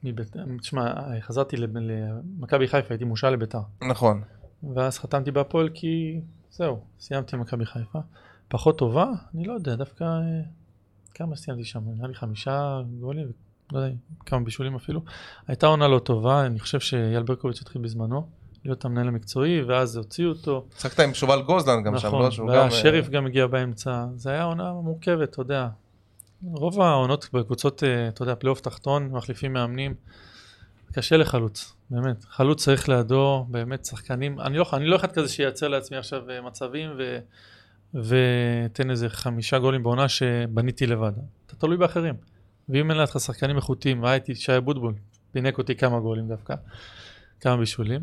C: מבית- תשמע, חזרתי לב- למכבי חיפה, הייתי מושל לביתר.
B: נכון.
C: ואז חתמתי בהפועל כי זהו, סיימתי עם מכבי חיפה. פחות טובה? אני לא יודע, דווקא אה, כמה סיימתי שם? נראה לי חמישה גולים, לא יודע, כמה בישולים אפילו. הייתה עונה לא טובה, אני חושב שאייל ברקוביץ' התחיל בזמנו, להיות המנהל המקצועי, ואז הוציאו אותו.
B: שחקת עם שובל גוזלן גם שם,
C: נכון,
B: לא? שהוא גם, אה,
C: והשריף גם הגיע באמצע, זה היה עונה מורכבת, אתה יודע. רוב העונות בקבוצות, אה, אתה יודע, פלייאוף תחתון, מחליפים מאמנים, קשה לחלוץ, באמת. חלוץ צריך לידו, באמת שחקנים, אני לא, אני לא אחד כזה שייצר לעצמי עכשיו אה, מצבים ו, ותן איזה חמישה גולים בעונה שבניתי לבד. אתה תלוי באחרים. ואם אין לידך שחקנים איכותיים, היה איתי שי אבוטבול, פינק אותי כמה גולים דווקא, כמה בישולים,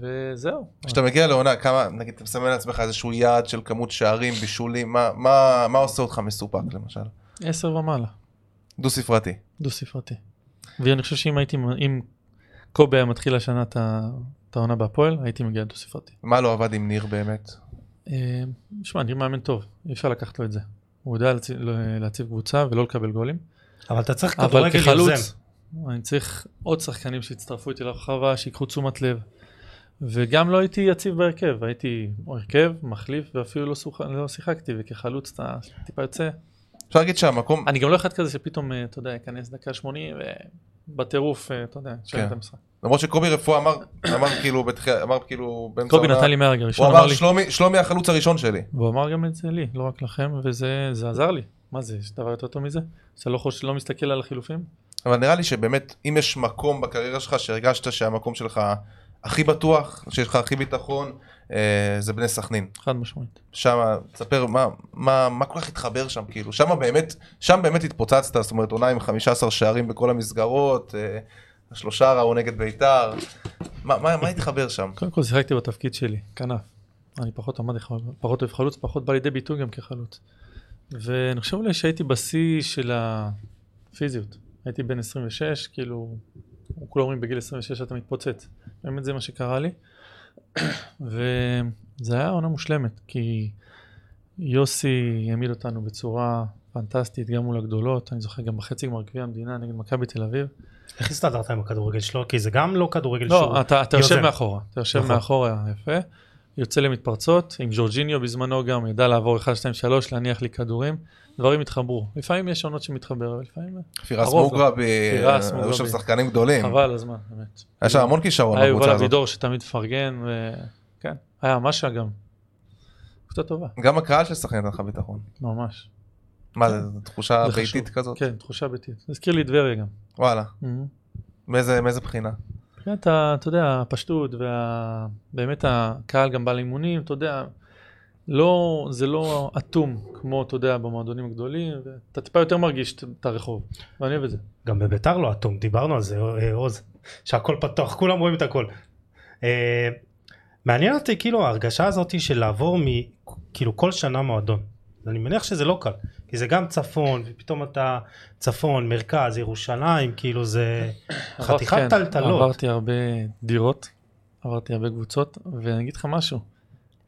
C: וזהו.
B: כשאתה מגיע לעונה, כמה, נגיד, אתה מסמן לעצמך איזשהו יעד של כמות שערים, בישולים, מה- מה מה עושה אותך מסופק למשל?
C: עשר ומעלה.
B: דו ספרתי.
C: דו ספרתי. ואני חושב שאם הייתי, אם קובי היה מתחיל השנה את ה- את העונה בהפועל, הייתי מגיע לדו ספרתי.
B: מה לא עבד עם ניר באמת?
C: אה, שמע, ניר מאמן טוב, אי אפשר לקחת לו את זה. הוא יודע להציב, להציב קבוצה ולא לקבל גולים,
D: אבל אתה צריך
C: אבל
D: כדורגל יוזם.
C: כחלוץ, אני צריך עוד שחקנים שיצטרפו איתי לרחבה, שיקחו תשומת לב. וגם לא הייתי יציב בהרכב, הייתי הרכב, מחליף ואפילו לא, שוח... לא שיחקתי, וכחלוץ אתה טיפה יוצא.
B: אפשר להגיד שהמקום,
C: אני גם לא אחד כזה שפתאום, אה, אתה יודע, ייכנס דקה 80 ובטירוף, אה, אתה יודע, שואל
B: כן.
C: את המשחק.
B: למרות שקובי רפואה אמר, אמר כאילו, בתחילה- אמר כאילו, באמצע
C: קובי
B: העונה-
C: נתן לי מהרגע
B: הוא
C: הראשון, אמר
B: אמר
C: לי,
B: "שלומי- שלומי החלוץ הראשון שלי.
C: והוא אמר גם את זה לי, לא רק לכם, וזה זה עזר לי. מה זה, יש דבר יותר טוב מזה? אתה לא חושב, לא מסתכל על החילופים?
B: אבל נראה לי שבאמת, אם יש מקום בקריירה שלך שהרגשת שהמקום שלך הכי בטוח, שיש לך הכי ביטחון, אה, זה בני סכנין.
C: חד משמעית.
B: שם, תספר מה, מה, מה כל כך התחבר שם, כאילו, שם באמת, שם באמת התפוצצת, זאת אומרת, עונה עם 15 שערים בכל המסגרות, אה, שלושה ראו נגד ביתר, מה, מה, מה התחבר שם?
C: קודם כל שיחקתי בתפקיד שלי, כנף. אני פחות עמדתי, חלוץ, פחות אוהב חלוץ, פחות בא לידי ביטוי גם כחלוץ. ואני חושב אולי שהייתי בשיא של הפיזיות. הייתי בן 26, כאילו, כולם אומרים בגיל 26 אתה מתפוצץ. באמת זה מה שקרה לי. וזה היה עונה מושלמת, כי יוסי העמיד אותנו בצורה פנטסטית, גם מול הגדולות, אני זוכר גם בחצי גמר גביע המדינה נגד מכבי תל אביב.
D: איך הסתדרת עם הכדורגל שלו? כי זה גם לא כדורגל שהוא...
C: לא, אתה, אתה יושב
D: יוזם.
C: מאחורה, אתה יושב
D: נכון.
C: מאחורה, יפה. יוצא למתפרצות, עם ז'ורג'יניו בזמנו גם, ידע לעבור 1, 2, 3, להניח לי כדורים, דברים התחברו. לפעמים יש עונות שמתחבר, אבל לפעמים
B: פירס
C: הרוב לא.
B: מוגרבי,
C: פירס
B: אה, היו
C: מוגרבי.
B: שם שחקנים גדולים,
C: חבל הזמן, באמת.
B: היה שם המון כישרון
C: היה יובל
B: בקבוצה הזאת.
C: אבידור שתמיד מפרגן, וכן, היה משה גם. קבוצה טובה,
B: גם הקהל של סכנין נתן לך ביטחון.
C: ממש.
B: מה זה, זו תחושה
C: כן. זה חשוב.
B: ביתית כזאת?
C: כן, תחושה ביתית. זה הזכיר לי את טבריה גם.
B: וואלה,
C: מהמם.
B: מאיזה מאיזה בחינה?
C: כן, אתה, אתה יודע, הפשטות, ובאמת הקהל גם בא לאימונים, אתה יודע, לא, זה לא אטום כמו, אתה יודע, במועדונים הגדולים, אתה טיפה יותר מרגיש את- את הרחוב, ואני אוהב את זה.
D: גם בביתר לא אטום, דיברנו על זה, אה, עוז, שהכל פתוח, כולם רואים את הכל. אה, מעניין אותי כאילו ההרגשה הזאת של לעבור מ... כאילו כל שנה מועדון. אני מניח שזה לא קל, כי זה גם צפון, ופתאום אתה צפון, מרכז, ירושלים, כאילו זה חתיכת
C: כן,
D: טלטלות.
C: עברתי הרבה דירות, עברתי הרבה קבוצות, ואני אגיד לך משהו.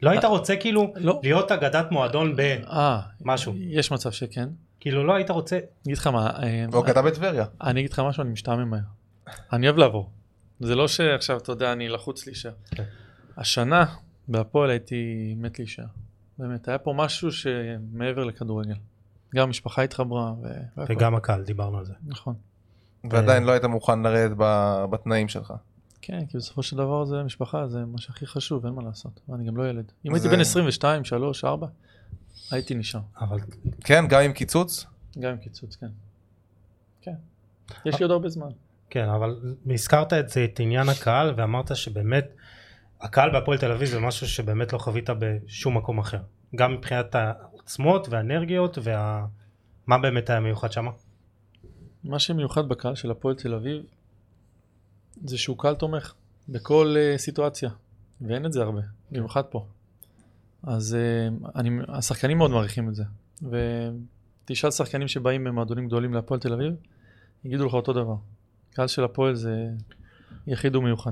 D: לא היית רוצה כאילו
C: לא.
D: להיות אגדת מועדון במשהו,
C: אה, יש מצב שכן. אני
D: כאילו לא היית רוצה,
C: אגיד לך מה, אה,
B: אוקיי, אתה בטבריה.
C: אני אגיד לך משהו, אני משתעמם מהר. אני אוהב לעבור. זה לא שעכשיו, אתה יודע, אני לחוץ להישאר.
D: כן.
C: השנה, בהפועל הייתי מת להישאר. באמת, היה פה משהו שמעבר לכדורגל. גם המשפחה התחברה. ו... והכל.
D: וגם הקהל, דיברנו על זה.
C: נכון.
B: ועדיין לא היית מוכן לרדת ב- בתנאים שלך.
C: כן, כי בסופו של דבר זה משפחה, זה מה שהכי חשוב, אין מה לעשות. אני גם לא ילד. אם
B: זה-
C: הייתי בן 22, 3, 4, הייתי נשאר.
D: אבל
B: כן, גם עם קיצוץ?
C: גם עם קיצוץ, כן. כן. יש לי עוד הרבה זמן.
D: כן, אבל הזכרת את זה, את עניין הקהל, ואמרת שבאמת, הקהל בהפועל תל אביב זה משהו שבאמת לא חווית בשום מקום אחר. גם מבחינת העוצמות והאנרגיות, וה... מה באמת היה מיוחד שם?
C: מה שמיוחד בקהל של הפועל תל אביב, זה שהוא קהל תומך בכל אה, סיטואציה, ואין את זה הרבה, במיוחד פה. אז אה, אני, השחקנים מאוד מעריכים את זה, ותשאל שחקנים שבאים ממועדונים גדולים להפועל תל אביב, יגידו לך אותו דבר. קהל של הפועל זה יחיד ומיוחד.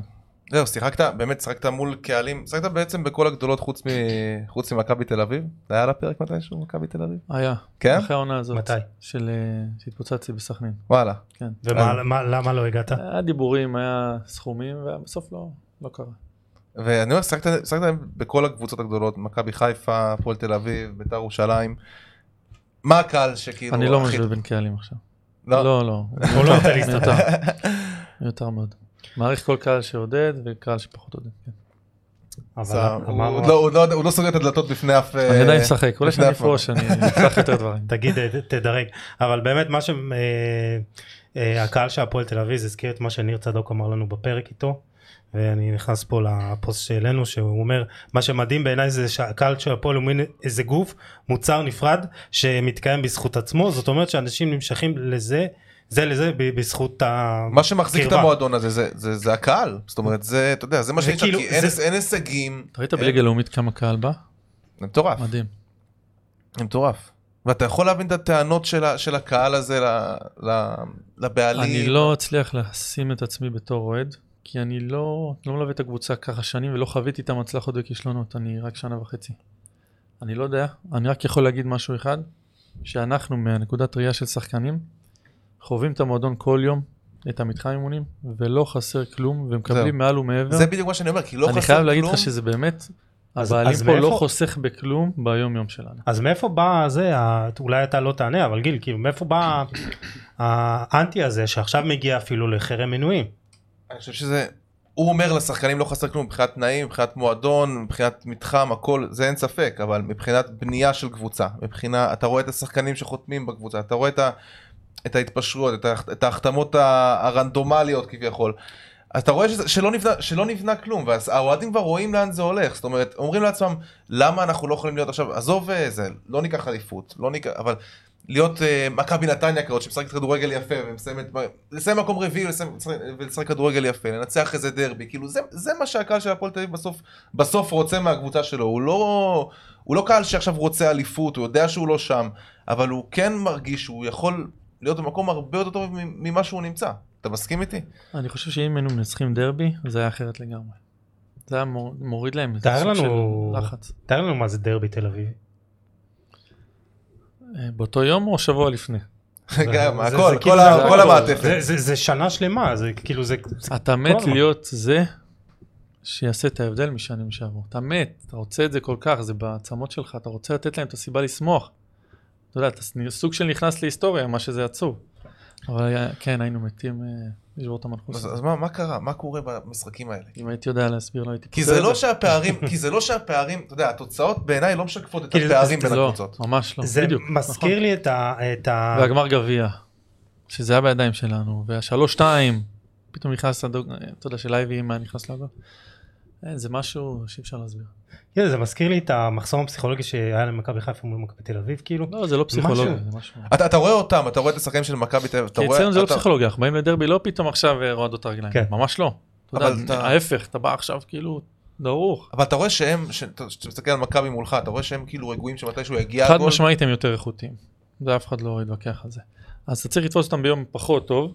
B: זהו, שיחקת, באמת שיחקת מול קהלים, שיחקת בעצם בכל הגדולות חוץ מ- חוץ ממכבי תל אביב? זה היה על הפרק מתישהו, מכבי תל אביב?
C: היה,
B: כן?
C: אחרי העונה הזאת,
D: מתי?
C: של, אה, שהתפוצצתי בסכנין,
B: וואלה.
C: כן.
B: אה.
D: ולמה לא הגעת?
C: היה דיבורים, היה סכומים, ובסוף לא, לא קרה.
B: ואני אומר, שיחקת שיחקת בכל הקבוצות הגדולות, מכבי חיפה, הפועל תל אביב, ביתר ירושלים. מה הקהל שכאילו...
C: אני לא
B: הכי-
C: משווה בין קהלים עכשיו.
B: כאילו, לא.
C: לא, לא.
D: הוא לא רוצה להסתדר.
C: מיותר. מיותר מאוד. מעריך כל קהל שעודד וקהל שפחות עודד. כן.
D: אבל
B: סער, הוא
D: אמרנו-
B: עוד לא- הוא לא- הוא לא סוגר את הדלתות בפני אף...
C: אני
B: אה,
C: עדיין משחק, אולי
B: לפני
C: שאני
B: אף פעם.
C: אפרוש, אני אצלח יותר דברים.
D: תגיד, אה, תדרג. אבל באמת מה ש... אה, אה, הקהל של הפועל תל אביב הזכיר את מה שניר צדוק אמר לנו בפרק איתו. ואני נכנס פה לפוסט שהעלינו שהוא אומר מה שמדהים בעיניי זה שהקהל של הפועל הוא מין איזה גוף מוצר נפרד שמתקיים בזכות עצמו זאת אומרת שאנשים נמשכים לזה זה לזה ב- בזכות ה...
B: מה שמחזיק את
D: קרבה.
B: המועדון הזה זה- זה זה הקהל. זאת אומרת, זה, אתה יודע, זה מה
D: זה
B: שיש לך,
D: כאילו-
B: כי אין-
D: זה-
B: אין הישגים.
C: אתה ראית בליגה הלאומית כמה קהל בא?
B: זה מטורף.
C: מדהים.
B: זה מטורף. ואתה יכול להבין את הטענות של ה- של הקהל הזה ל- ל- לבעלים.
C: אני לא אצליח לשים את עצמי בתור אוהד, כי אני לא לא מלווה את הקבוצה ככה שנים ולא חוויתי את המצלחות וכישלונות, אני רק שנה וחצי. אני לא יודע, אני רק יכול להגיד משהו אחד, שאנחנו מהנקודת ראייה של שחקנים, חווים את המועדון כל יום, את המתחם אימונים, ולא חסר כלום,
B: זהו.
C: ומקבלים מעל ומעבר.
B: זה בדיוק מה שאני אומר, כי לא חסר כלום.
C: אני חייב להגיד לך שזה באמת,
D: אז-
C: הבעלים
D: אז
C: פה לא
D: מאיפה-
C: חוסך בכלום ביום יום שלנו.
D: אז מאיפה בא זה, ה- אולי אתה לא תענה, אבל גיל, כאילו מאיפה בא האנטי הזה שעכשיו מגיע אפילו לחרם מינויים?
B: אני חושב שזה... הוא אומר לשחקנים לא חסר כלום מבחינת תנאים, מבחינת מועדון, מבחינת מתחם, הכל, זה אין ספק, אבל מבחינת בנייה של קבוצה, מבחינה, אתה רואה את השחקנים שחותמים בקבוצה, אתה רואה את, ה, את ההתפשרויות, את, ה, את ההחתמות ה- הרנדומליות כביכול. אז אתה רואה שזה, שלא, נבנה, שלא נבנה כלום, והאוהדים כבר רואים לאן זה הולך, זאת אומרת, אומרים לעצמם, למה אנחנו לא יכולים להיות עכשיו, עזוב אה, זה, לא ניקח אליפות, לא ניקח, אבל להיות אה, מכבי נתניה כזאת שמשחקת כדורגל יפה ומסיימת, לסיים מקום רביעי ולסיים- ולשחק כדורגל יפה, לנצח איזה דרבי, כאילו זה, זה מה שהקהל של הפועל תל אביב בסוף, בסוף רוצה מהקבוצה שלו, הוא לא, הוא לא קהל שעכשיו רוצה אליפות, הוא יודע שהוא לא שם, אבל הוא כן מרגיש שהוא יכול להיות במקום הרבה יותר טוב מ- ממה שהוא נמצא, אתה מסכים איתי?
C: אני חושב שאם היינו מנצחים דרבי, זה היה אחרת לגמרי. זה היה מור- מוריד להם את
D: תאר
C: הסוג
D: לנו-
C: של לחץ.
D: תאר לנו מה זה דרבי תל אביב.
C: אה, באותו יום או שבוע לפני?
B: גם,
D: זה-
B: הכל,
D: זה
B: כל
D: כאילו-
B: ה-
D: זה
B: כל
C: הכל.
B: המעטפת.
D: זה- זה זה שנה שלמה, זה כאילו זה... זה-
C: אתה מת
D: הזמן.
C: להיות זה שיעשה את ההבדל משנים שעברו. אתה מת, אתה רוצה את זה כל כך, זה בעצמות שלך, אתה רוצה לתת להם את הסיבה לשמוח. אתה יודע, אתה ס- סוג של נכנס להיסטוריה, מה שזה עצוב. אבל היה- כן, היינו מתים אה, לשבור את המנחוס.
B: אז אז מה מה קרה? מה קורה במשחקים האלה?
C: אם הייתי יודע להסביר, לא הייתי
B: כי
C: פותר
B: זה
C: את
B: לא שהפערים, כי זה לא שהפערים, אתה יודע, התוצאות בעיניי לא משקפות את
D: כאילו,
B: הפערים בין
C: לא,
B: הקבוצות.
C: ממש לא,
D: זה
C: בדיוק.
D: מזכיר לי את ה- את ה...
C: נכון. והגמר גביע, שזה היה בידיים שלנו, והשלוש שתיים, פתאום נכנס הדוג, אתה יודע, של אייבי אם היה נכנס לגול. אין, זה משהו שאי אפשר להסביר.
D: כן, זה מזכיר לי את המחסום הפסיכולוגי שהיה למכבי חיפה מול מכבי תל אביב, כאילו.
C: לא, זה לא פסיכולוגיה,
D: משהו.
C: זה משהו.
B: אתה, אתה רואה אותם, אתה רואה את השחקנים של מכבי תל אביב, אתה
C: כי
B: רואה...
C: אצלנו זה לא
B: אתה-
C: פסיכולוגיה, אנחנו באים לדרבי לא פתאום עכשיו אה, רועדות הרגליים,
D: כן.
C: ממש לא. אתה
B: אבל
C: יודע,
B: אתה-
C: ההפך, אתה בא עכשיו כאילו דרוך.
B: אבל אתה רואה שהם, ש- אתה- כשאתה מסתכל על מכבי מולך, אתה רואה שהם כאילו רגועים שמתישהו יגיע
C: חד
B: הגול.
C: משמעית הם יותר איכותיים, זה אף אחד לא יתווכח על זה. אז אתה צריך לתפוס אותם ביום פחות טוב,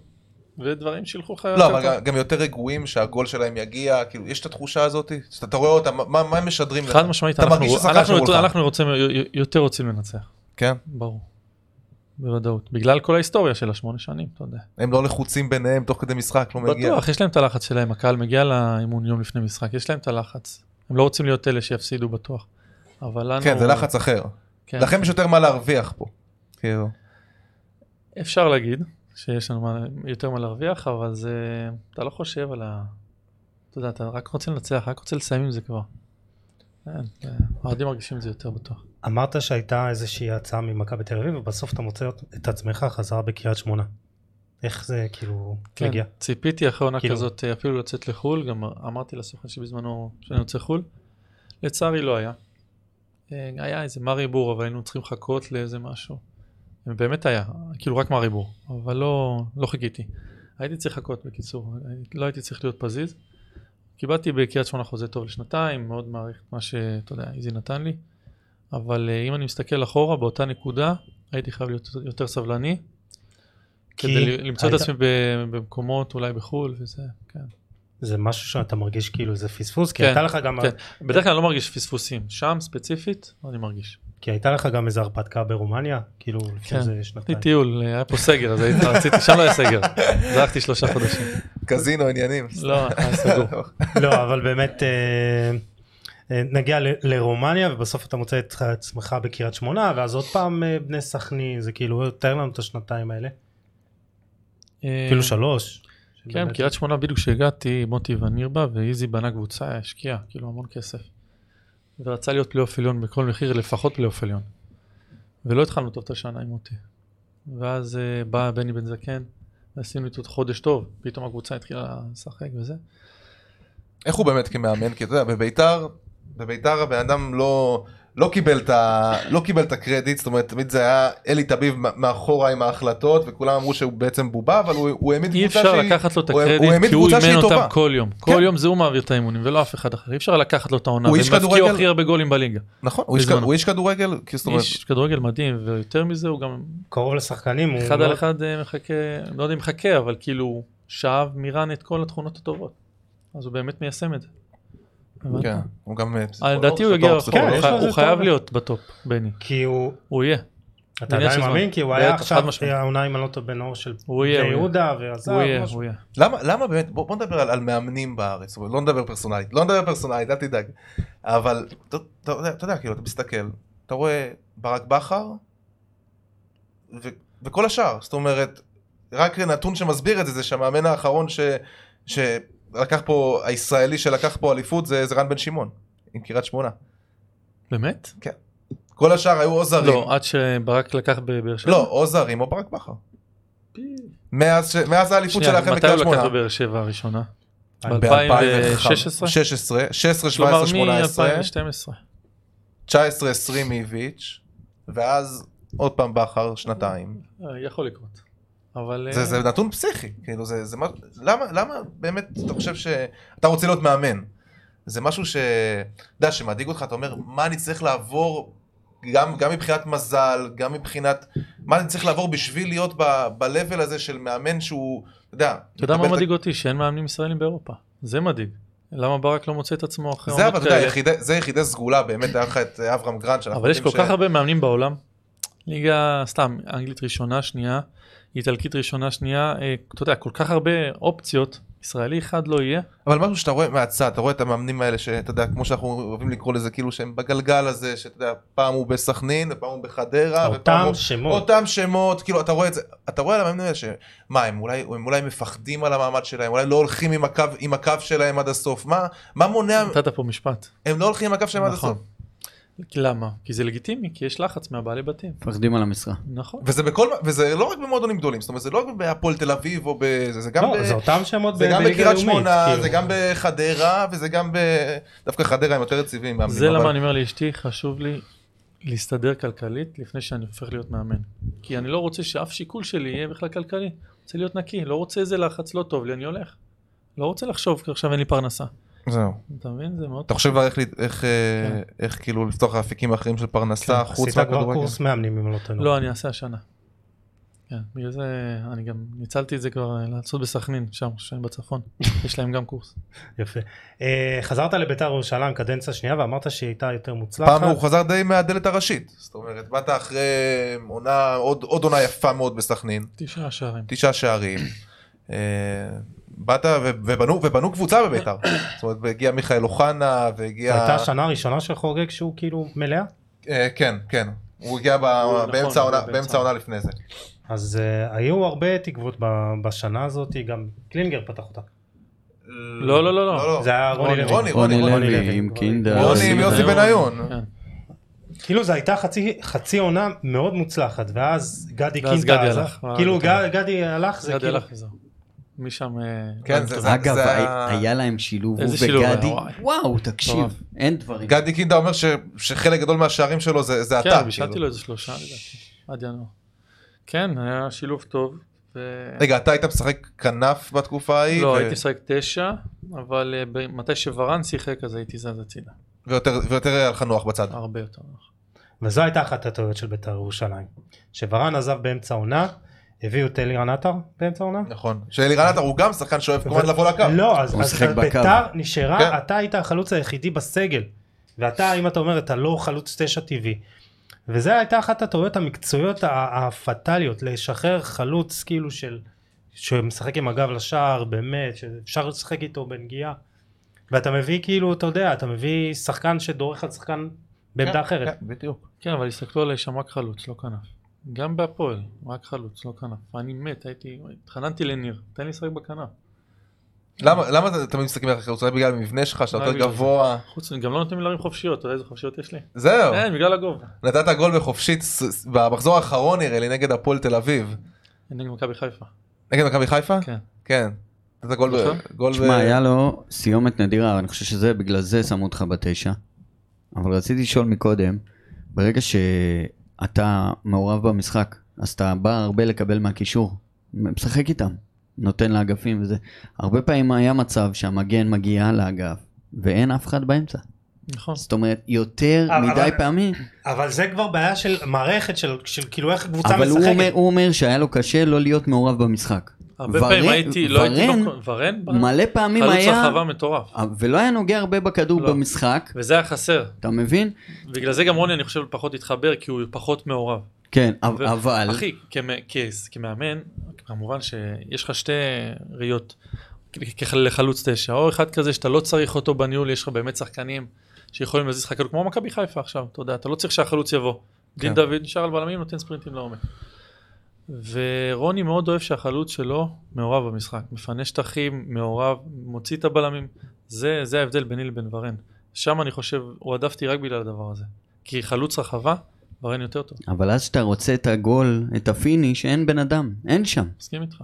C: ודברים שילכו לך
B: לא,
C: יותר
B: אבל
C: טוב.
B: גם- גם יותר רגועים שהגול שלהם יגיע, כאילו, יש את התחושה הזאת, שאתה אתה רואה אותם, מה- מה מה הם משדרים לך?
C: חד משמעית,
B: אתה
C: אנחנו
B: מרגיש ששחקן
C: אנחנו-
B: שמולך.
C: אנחנו רוצים- יותר רוצים לנצח.
B: כן,
C: ברור. בוודאות. בגלל כל ההיסטוריה של השמונה שנים, אתה יודע.
B: הם לא לחוצים ביניהם תוך כדי משחק, לא מגיע.
C: בטוח, יש להם את הלחץ שלהם, הקהל מגיע לאימון יום לפני משחק, יש להם את הלחץ. הם לא רוצים להיות אלה שיפסידו בטוח. אבל לנו...
B: כן, זה לחץ אחר.
C: כן,
B: לכם יש יותר מה להרוויח פה. כאילו.
C: אפשר להגיד שיש לנו מה, יותר מה להרוויח, אבל זה... אתה לא חושב על ה... אתה יודע, אתה רק רוצה לנצח, רק רוצה לסיים עם זה כבר. כן, זה- האוהדים מרגישים את זה יותר בטוח.
D: אמרת שהייתה איזושהי הצעה ממכבי תל אביב, ובסוף אתה מוצא את עצמך חזרה בקריית שמונה. איך זה כאילו
C: כן,
D: מגיע?
C: ציפיתי אחרי עונה
D: כאילו-
C: כזאת אה, אפילו לצאת לחו"ל, גם אמרתי לסוכן שבזמנו שאני יוצא חו"ל. לצערי לא היה. אה, היה איזה מה ריבור, אבל היינו צריכים לחכות לאיזה משהו. באמת היה, כאילו רק מה ריבור, אבל לא, לא חיכיתי. הייתי צריך לחכות בקיצור, לא הייתי צריך להיות פזיז. קיבלתי בקריית שמונה חוזה טוב לשנתיים, מאוד מעריך את מה שאתה יודע, איזי נתן לי. אבל אה, אם אני מסתכל אחורה, באותה נקודה הייתי חייב להיות יותר סבלני.
D: כי
C: כדי ל- למצוא את
D: היית-
C: עצמי ב- במקומות אולי בחו"ל וזה, כן.
D: זה משהו שאתה מרגיש כאילו זה פספוס? כי
C: כן,
D: הייתה לך גם...
C: כן. בדרך כלל אני לא מרגיש פספוסים, שם ספציפית אני מרגיש.
D: כי הייתה לך גם איזו הרפתקה ברומניה? כאילו לפני
C: כן.
D: איזה
C: הייתי
D: שנתיים.
C: טיול, אה, היה פה סגר, אז הייתי- רציתי, שם לא היה סגר. דרכתי שלושה חודשים.
B: קזינו עניינים.
C: לא, היה סגור.
D: לא, אבל באמת, אה, אה, נגיע ל- לרומניה ובסוף אתה מוצא את עצמך בקריית שמונה, ואז עוד פעם אה, בני סכנין, זה כאילו, תאר לנו את השנתיים האלה.
C: אה,
D: אפילו שלוש.
C: כן,
D: שבאמת-
C: קריית שמונה בדיוק כשהגעתי, מוטי וניר בה, ואיזי בנה קבוצה, השקיע, כאילו המון כסף. ורצה להיות פלייאוף עליון בכל מחיר, לפחות פלייאוף עליון. ולא התחלנו טוב את השנה עם מוטי. ואז אה, בא בני בן זקן, ועשינו איתו חודש טוב, פתאום הקבוצה התחילה לשחק וזה.
B: איך הוא באמת כמאמן? כי אתה יודע, בביתר, בביתר הבן אדם לא, לא, קיבל את ה, לא קיבל את הקרדיט, זאת אומרת, תמיד זה היה אלי תביב מ- מאחורה עם ההחלטות, וכולם אמרו שהוא בעצם בובה, אבל הוא, הוא העמיד
C: אי
B: קבוצה
C: אפשר
B: שהיא-
C: לקחת לו את
B: הוא- הוא העמיד
C: הקרדיט, כי הוא
B: קבוצה שהיא
C: אימן אותם
B: טובה. כן.
C: כל יום. כל יום זה הוא מעביר את האימונים, ולא אף אחד אחר. אי אפשר לקחת לו את העונה,
B: הוא
C: והם
B: איש
C: הפקיעו
B: כדורגל-
C: הכי הרבה גולים בליגה.
B: נכון, הוא איש, כ-
C: בזמנו.
B: הוא איש כדורגל, כי זאת אומרת,
C: איש כדורגל מדהים, ויותר מזה הוא גם
D: קרוב לשחקנים, הוא
C: אחד
B: לא.
D: מאוד-
C: על אחד אה, מחכה, לא יודע אם מחכה, אבל כאילו שאב מרן את כל התכונות הטובות. אז הוא באמת מיישם את זה. הבנת?
B: כן, הוא גם... אה,
C: אה,
B: פסיכולוג,
C: לדעתי הוא יגיע
B: פסיכולוג,
C: רחוק, הוא
D: כן, יש לו
C: חי-
D: איזה
C: הוא חייב
D: תואר.
C: להיות בטופ, בני.
D: כי הוא,
C: הוא יהיה,
D: אתה
C: עניין
D: עדיין
C: של
D: מאמין?
C: זמן.
D: כי הוא היה
C: בטח, חד
D: עכשיו,
C: משמעית.
D: העונה עם הלוטו בן אור של
C: אה, הוא יהיה,
D: בני
C: הוא יהיה.
D: יהודה, ועזב,
C: הוא יהיה,
D: משהו.
C: הוא יהיה.
B: למה למה באמת בוא, בוא נדבר על, על מאמנים בארץ זאת אומרת, לא נדבר פרסונלית לא נדבר פרסונלית אל תדאג אבל אתה, אתה, יודע- אתה יודע כאילו אתה מסתכל אתה רואה ברק בכר ו, וכל השאר זאת אומרת רק נתון שמסביר את זה זה שהמאמן האחרון ש, שלקח פה הישראלי שלקח פה אליפות זה, זה רן בן שמעון עם קריית שמונה
C: באמת?
B: כל השאר היו או זרים
C: לא, עד שברק לקח בבאר שבע?
B: לא או זרים או ברק בכר מאז, ש- מאז האליפות
C: שנייה,
B: שלכם
C: מתי
B: בקריית
C: הוא לקח
B: שמונה.
C: בבאר שבע הראשונה?
B: ב-2016,
C: 2016?
B: 16, 16, 17,
C: כלומר
B: 18,
C: מ-2012.
B: 19, 20 איביץ', ואז עוד פעם בכר שנתיים.
C: אה, יכול לקרות. אבל...
B: זה,
C: אה,
B: זה נתון פסיכי, כאילו זה, זה מה, למה, למה באמת אתה חושב ש... אתה רוצה להיות מאמן. זה משהו ש... אתה יודע, שמדאיג אותך, אתה אומר, מה אני צריך לעבור, גם, גם מבחינת מזל, גם מבחינת... מה אני צריך לעבור בשביל להיות ב- ב-level הזה של מאמן שהוא, אתה יודע...
C: אתה יודע
B: מקבל
C: מה
B: את ה-
C: מדאיג אותי? שאין מאמנים ישראלים באירופה. זה מדאיג. למה ברק לא מוצא את עצמו אחרי
B: זה אבל
C: עונות
B: אתה יודע,
C: כאלה?
B: יחידי- זה יחידי סגולה, באמת היה לך את אברהם גרנד, שאנחנו
C: כן. אבל יש כל
B: יודעים
C: כך
B: ש-
C: הרבה מאמנים בעולם. ליגה סתם אנגלית ראשונה שנייה, איטלקית ראשונה שנייה, אה, אתה יודע כל כך הרבה אופציות, ישראלי אחד לא יהיה.
B: אבל משהו שאתה רואה מהצד, אתה רואה את המאמנים האלה שאתה יודע, כמו שאנחנו אוהבים לקרוא לזה, כאילו שהם בגלגל הזה, שאתה יודע, פעם הוא בסכנין, ופעם הוא בחדרה, ופעם
D: אותם
B: הוא...
D: שמות.
B: אותם שמות, כאילו אתה רואה את זה, אתה רואה על המאמנים האלה שמה, הם אולי, הם אולי מפחדים על המעמד שלהם, אולי לא הולכים עם הקו, עם הקו שלהם עד הסוף, מה, מה מונע,
C: נתת פה משפט.
B: הם לא הולכים עם הקו שלהם עד
C: נכון.
B: הסוף,
C: כי למה? כי זה לגיטימי, כי יש לחץ מהבעלי בתים.
E: מפחדים על המשרה.
C: נכון.
B: וזה בכל, וזה לא רק במועדונים גדולים, זאת אומרת זה לא רק בהפועל תל אביב או בזה, זה גם,
D: לא,
B: ב...
D: זה אותם שמות
B: זה
D: ב-
B: גם
D: בליגה
B: בקריית
D: לאומית,
B: שמונה,
D: כאילו.
B: זה גם בחדרה, וזה גם ב... דווקא חדרה הם יותר יציבים מאמנים,
C: זה
B: אבל-
C: למה אני אומר לאשתי, חשוב לי להסתדר כלכלית לפני שאני הופך להיות מאמן. כי אני לא רוצה שאף שיקול שלי יהיה בכלל כלכלי. רוצה להיות נקי, לא רוצה איזה לחץ, לא טוב לי, אני הולך. לא רוצה לחשוב, כי עכשיו אין לי פרנסה.
B: זהו.
C: אתה מבין? זה מאוד...
B: אתה חושב כבר איך, להת- איך, אה, איך כאילו לפתוח אפיקים אחרים של פרנסה חוץ
D: כן. עשית כבר
B: מהכדורגל?
D: קורס מאמנים אם לא טועה.
C: לא, אני אעשה השנה. כן, בגלל זה אני גם ניצלתי את זה כבר אה, לעשות בסכנין, שם, שם בצפון. יש להם גם קורס.
D: יפה. אה, חזרת לביתר ירושלים קדנציה שנייה ואמרת שהיא הייתה יותר מוצלחת.
B: פעם הוא חזר די מהדלת הראשית, זאת אומרת באת אחרי עונה, עוד, עוד עונה יפה מאוד בסכנין,
C: תשעה שערים.
B: תשעה שערים, אה, באת ו- ובנו, ובנו קבוצה בביתר. זאת אומרת, הגיע מיכאל אוחנה והגיע...
D: זו הייתה השנה הראשונה של חוגג שהוא כאילו מלאה?
B: אה, כן, כן. הוא הגיע ב-
C: נכון,
B: באמצע העונה-
C: באמצע.
B: באמצע העונה לפני זה.
D: אז אה, היו הרבה תקוות ב- בשנה הזאת, גם קלינגר פתח אותה.
C: לא, לא, לא, לא.
D: זה היה רוני לוי.
B: רוני, רוני,
E: רוני
D: רוני
E: לוי
D: לוי.
E: עם קינדה.
B: רוני עם יוסי בניון.
C: כן.
D: כאילו זו הייתה חצי, חצי עונה מאוד מוצלחת, ואז גדי
C: ואז
D: קינדה
C: גדי
D: עזב.
C: הלך, מה
D: כאילו
C: אתה
D: ג-
C: אומר?
D: גדי הלך, זה
C: גדי
D: כאילו...
C: הלך וזהו. משם... אה,
B: כן, זה- זה-
E: אגב,
B: זה
E: ה-
B: ה-
E: היה להם שילוב, הוא
C: איזה שילוב היה,
E: וגדי.
C: וואי.
E: וואו, תקשיב,
C: מטורף.
E: אין דברים.
B: גדי קינדה אומר ש- שחלק גדול מהשערים שלו זה זה אתה.
C: כן, בישלתי
B: כאילו.
C: לו איזה שלושה לדעתי, עד ינואר. כן, היה שילוב טוב. ו-
B: רגע, אתה היית משחק כנף בתקופה ההיא?
C: כן. לא,
B: ו-
C: הייתי משחק תשע, אבל אה, ב- מתי שוורן שיחק אז הייתי זז הצידה,
B: ויותר- ויותר היה לך נוח בצד.
C: הרבה יותר נוח.
D: וזו הייתה אחת הטעויות של בית"ר ירושלים. שוורן עזב באמצע עונה, הביאו את אלירן עטר באמצע עונה.
B: נכון. שאלירן עטר הוא גם שחקן שאוהב כל
D: ו-
B: הזמן לבוא לקו.
D: לא, אז,
E: הוא
D: אז
E: שיחק בקו.
D: בית"ר נשארה,
B: כן.
D: אתה היית החלוץ היחידי בסגל. ואתה, אם אתה אומר, אתה לא חלוץ תשע טבעי. וזו הייתה אחת הטעויות המקצועיות ה- הפטאליות, לשחרר חלוץ כאילו של... שמשחק עם הגב לשער, באמת, שאפשר לשחק איתו בנגיעה. ואתה מביא כאילו, אתה יודע, אתה מביא שחקן שדורך על שחקן בעמדה אחרת.
B: כן, בדיוק.
C: כן, אבל הסתכלו עליי שם רק חלוץ, לא כנף. גם בהפועל, רק חלוץ, לא כנף. אני מת, הייתי, התחננתי לניר, תן לי לשחק בכנף.
B: למה למה אתה תמיד מסתכל על החלוץ? אולי בגלל המבנה שלך שאתה
C: אולי
B: יותר
C: לא, בגלל זה.
B: גבוה.
C: חוץ, גם לא נותנים לי להרים חופשיות, אתה יודע איזה חופשיות יש לי?
B: זהו.
C: כן, בגלל הגובה.
B: נתת גול בחופשית ס- ס- במחזור האחרון נראה לי נגד הפועל תל אביב.
C: נגד מכבי חיפה.
B: נגד מכבי חיפה?
C: כן.
B: כן. נתת גול ב...
C: נכון.
B: גול ב-
E: תשמע, היה לו סיומת נדירה, אני חושב שזה, בגלל זה שמו אותך בתשע. אבל רציתי לשאול מקודם, ברגע שאתה מעורב במשחק, אז אתה בא הרבה לקבל מהקישור, משחק איתם, נותן לאגפים וזה. הרבה פעמים היה מצב שהמגן מגיע לאגף, ואין אף אחד באמצע.
C: נכון.
E: זאת אומרת, יותר
D: אבל-
E: מדי
D: אבל-
E: פעמים.
D: אבל זה כבר בעיה של מערכת, של, של כאילו איך קבוצה
E: אבל הוא אומר,
D: משחקת.
E: הוא אומר שהיה לו קשה לא להיות מעורב במשחק.
C: הרבה
E: ורן-
C: פעמים הייתי, לא הייתי...
E: ורן-
C: בקו- ורן?
E: מלא פעמים
C: חלוץ
E: היה,
C: הרחבה מטורף.
E: ולא היה נוגע הרבה בכדור
C: לא.
E: במשחק,
C: וזה היה חסר.
E: אתה מבין?
C: בגלל זה גם רוני, אני חושב, פחות התחבר, כי הוא פחות מעורב.
E: כן, אב-
C: ו-
E: אבל...
C: אחי, כמ- כ- כמאמן, כמובן שיש לך שתי ראיות כ- כ- לחלוץ תשע, או אחד כזה שאתה לא צריך אותו בניהול, יש לך באמת שחקנים שיכולים להזיז לך, כאילו, כמו מכבי חיפה עכשיו, אתה יודע, אתה לא צריך שהחלוץ יבוא. דין דוד נשאר על בלמים, נותן ספרינטים לעומק. ורוני מאוד אוהב שהחלוץ שלו מעורב במשחק, מפנה שטחים, מעורב, מוציא את הבלמים, זה, זה ההבדל ביני לבין ורן. שם אני חושב, הועדפתי רק בגלל הדבר הזה. כי חלוץ רחבה, ורן יותר טוב,
E: אבל אז כשאתה רוצה את הגול, את הפיניש, אין בן אדם, אין שם.
C: מסכים איתך.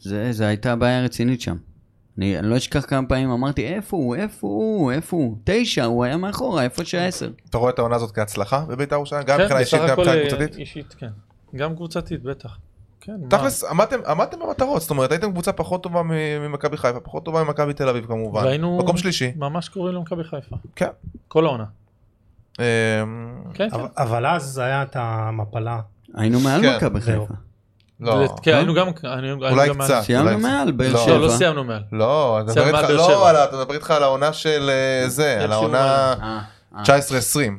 E: זה, זה הייתה בעיה רצינית שם. אני, אני לא אשכח כמה פעמים אמרתי, איפה הוא, איפה הוא, איפה הוא? תשע, הוא היה מאחורה, איפה שהעשר?
B: אתה רואה את העונה הזאת כהצלחה בביתר ירושלים? גם
C: כן,
B: מבחינה אישית,
C: בסך
B: גם
C: הכל,
B: מבחינה
C: אה,
B: קבוצתית?
C: אישית, כן. גם קבוצתית, בטח. כן, מה?
B: תכלס עמדתם עמדתם במטרות זאת אומרת הייתם קבוצה פחות טובה מ- ממכבי חיפה פחות טובה ממכבי תל אביב כמובן
C: והיינו-
B: מקום שלישי
C: ממש קוראים למכבי חיפה.
B: כן.
C: כל העונה.
B: אמ,
C: כן, כן.
D: אבל, אבל אז היה את המפלה.
E: היינו מעל
B: כן,
E: מכבי
D: זהו.
E: חיפה.
B: לא
C: לת- כן, היינו גם... היינו- היינו
B: אולי
C: גם מעל-
B: קצת
E: סיימנו
B: אה, אולי קצת.
E: מעל, באר
B: לא.
E: שבע.
C: לא, לא סיימנו מעל.
B: לא אני מדבר
C: סיימנו
B: איתך-
C: עד באר
B: לא,
C: שבע.
B: על ה- אתה מדבר איתך על העונה של אה, זה
C: כן,
B: על
C: שהוא
B: העונה
E: אה, אה.
B: 19-20
E: כן,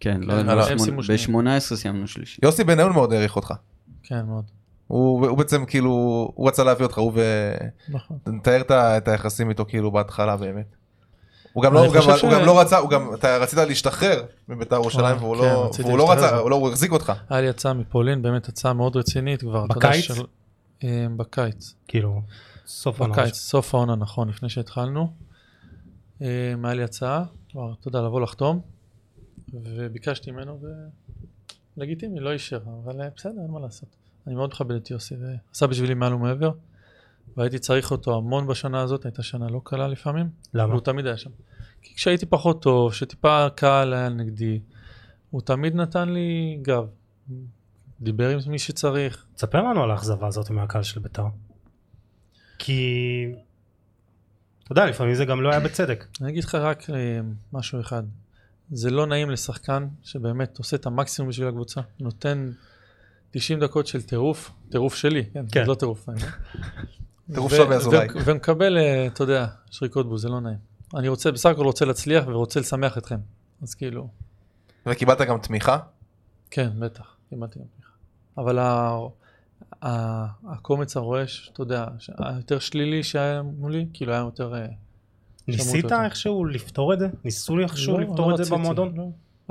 C: כן,
E: לא,
C: לא,
E: לא,
C: הם סיימו שנייה.
E: ב-18 סיימנו שלישי.
B: יוסי בניון מאוד העריך אותך
C: כן, מאוד.
B: הוא הוא בעצם כאילו הוא רצה להביא אותך הוא ו...
C: נכון.
B: נתאר את ה- את היחסים איתו כאילו בהתחלה באמת. הוא גם
C: אני
B: לא, הוא גם,
C: חושב
B: הוא
C: ש-
B: גם לא רצה, הוא גם, אתה רצית להשתחרר מביתר ירושלים
C: אה,
B: והוא
C: כן,
B: לא,
C: רציתי
B: והוא לא
C: להשתחרר.
B: רצה, הוא לא, הוא החזיק אותך.
C: היה לי הצעה מפולין, באמת הצעה מאוד רצינית כבר. אתה יודע,
D: בקיץ?
C: של- אה, בקיץ.
D: כאילו, סוף העונה.
C: בקיץ, סוף העונה, נכון, לפני שהתחלנו. אה, היה לי הצעה, כבר, אתה יודע, לבוא לחתום, וביקשתי ממנו, ולגיטימי, לא אישר, אבל אה, בסדר, אין מה לעשות. אני מאוד מכבד את יוסי, ועשה בשבילי מעל ומעבר, והייתי צריך אותו המון בשנה הזאת, הייתה שנה לא קלה לפעמים,
D: למה?
C: והוא תמיד היה שם. כי כשהייתי פחות טוב, כשטיפה הקהל היה נגדי, הוא תמיד נתן לי גב. דיבר עם מי שצריך,
D: תספר לנו על האכזבה הזאת מהקהל של בית"ר. כי... אתה יודע, לפעמים זה גם לא היה בצדק.
C: אני אגיד לך רק אה, משהו אחד. זה לא נעים לשחקן שבאמת עושה את המקסימום בשביל הקבוצה, נותן 90 דקות של טירוף, טירוף שלי, כן,
D: כן.
C: זה לא טירוף. אני-
B: טירוף
C: ו-
B: שלומי אזולאי.
C: ו- ומקבל, אה, אתה יודע, שריקות בוז, זה לא נעים. אני רוצה, בסך הכל רוצה להצליח ורוצה לשמח אתכם. אז כאילו,
B: וקיבלת גם תמיכה.
C: כן, בטח, קיבלתי גם תמיכה. אבל ה- ה- הקומץ הרועש, אתה יודע, ש- היותר שלילי שהיה מולי, כאילו היה יותר... אה,
D: ניסית
C: אותו.
D: איכשהו לפתור את זה? ניסו לי איכשהו
C: לא,
D: לפתור
C: לא
D: את זה
C: רציתי,
D: במועדון?
C: לא.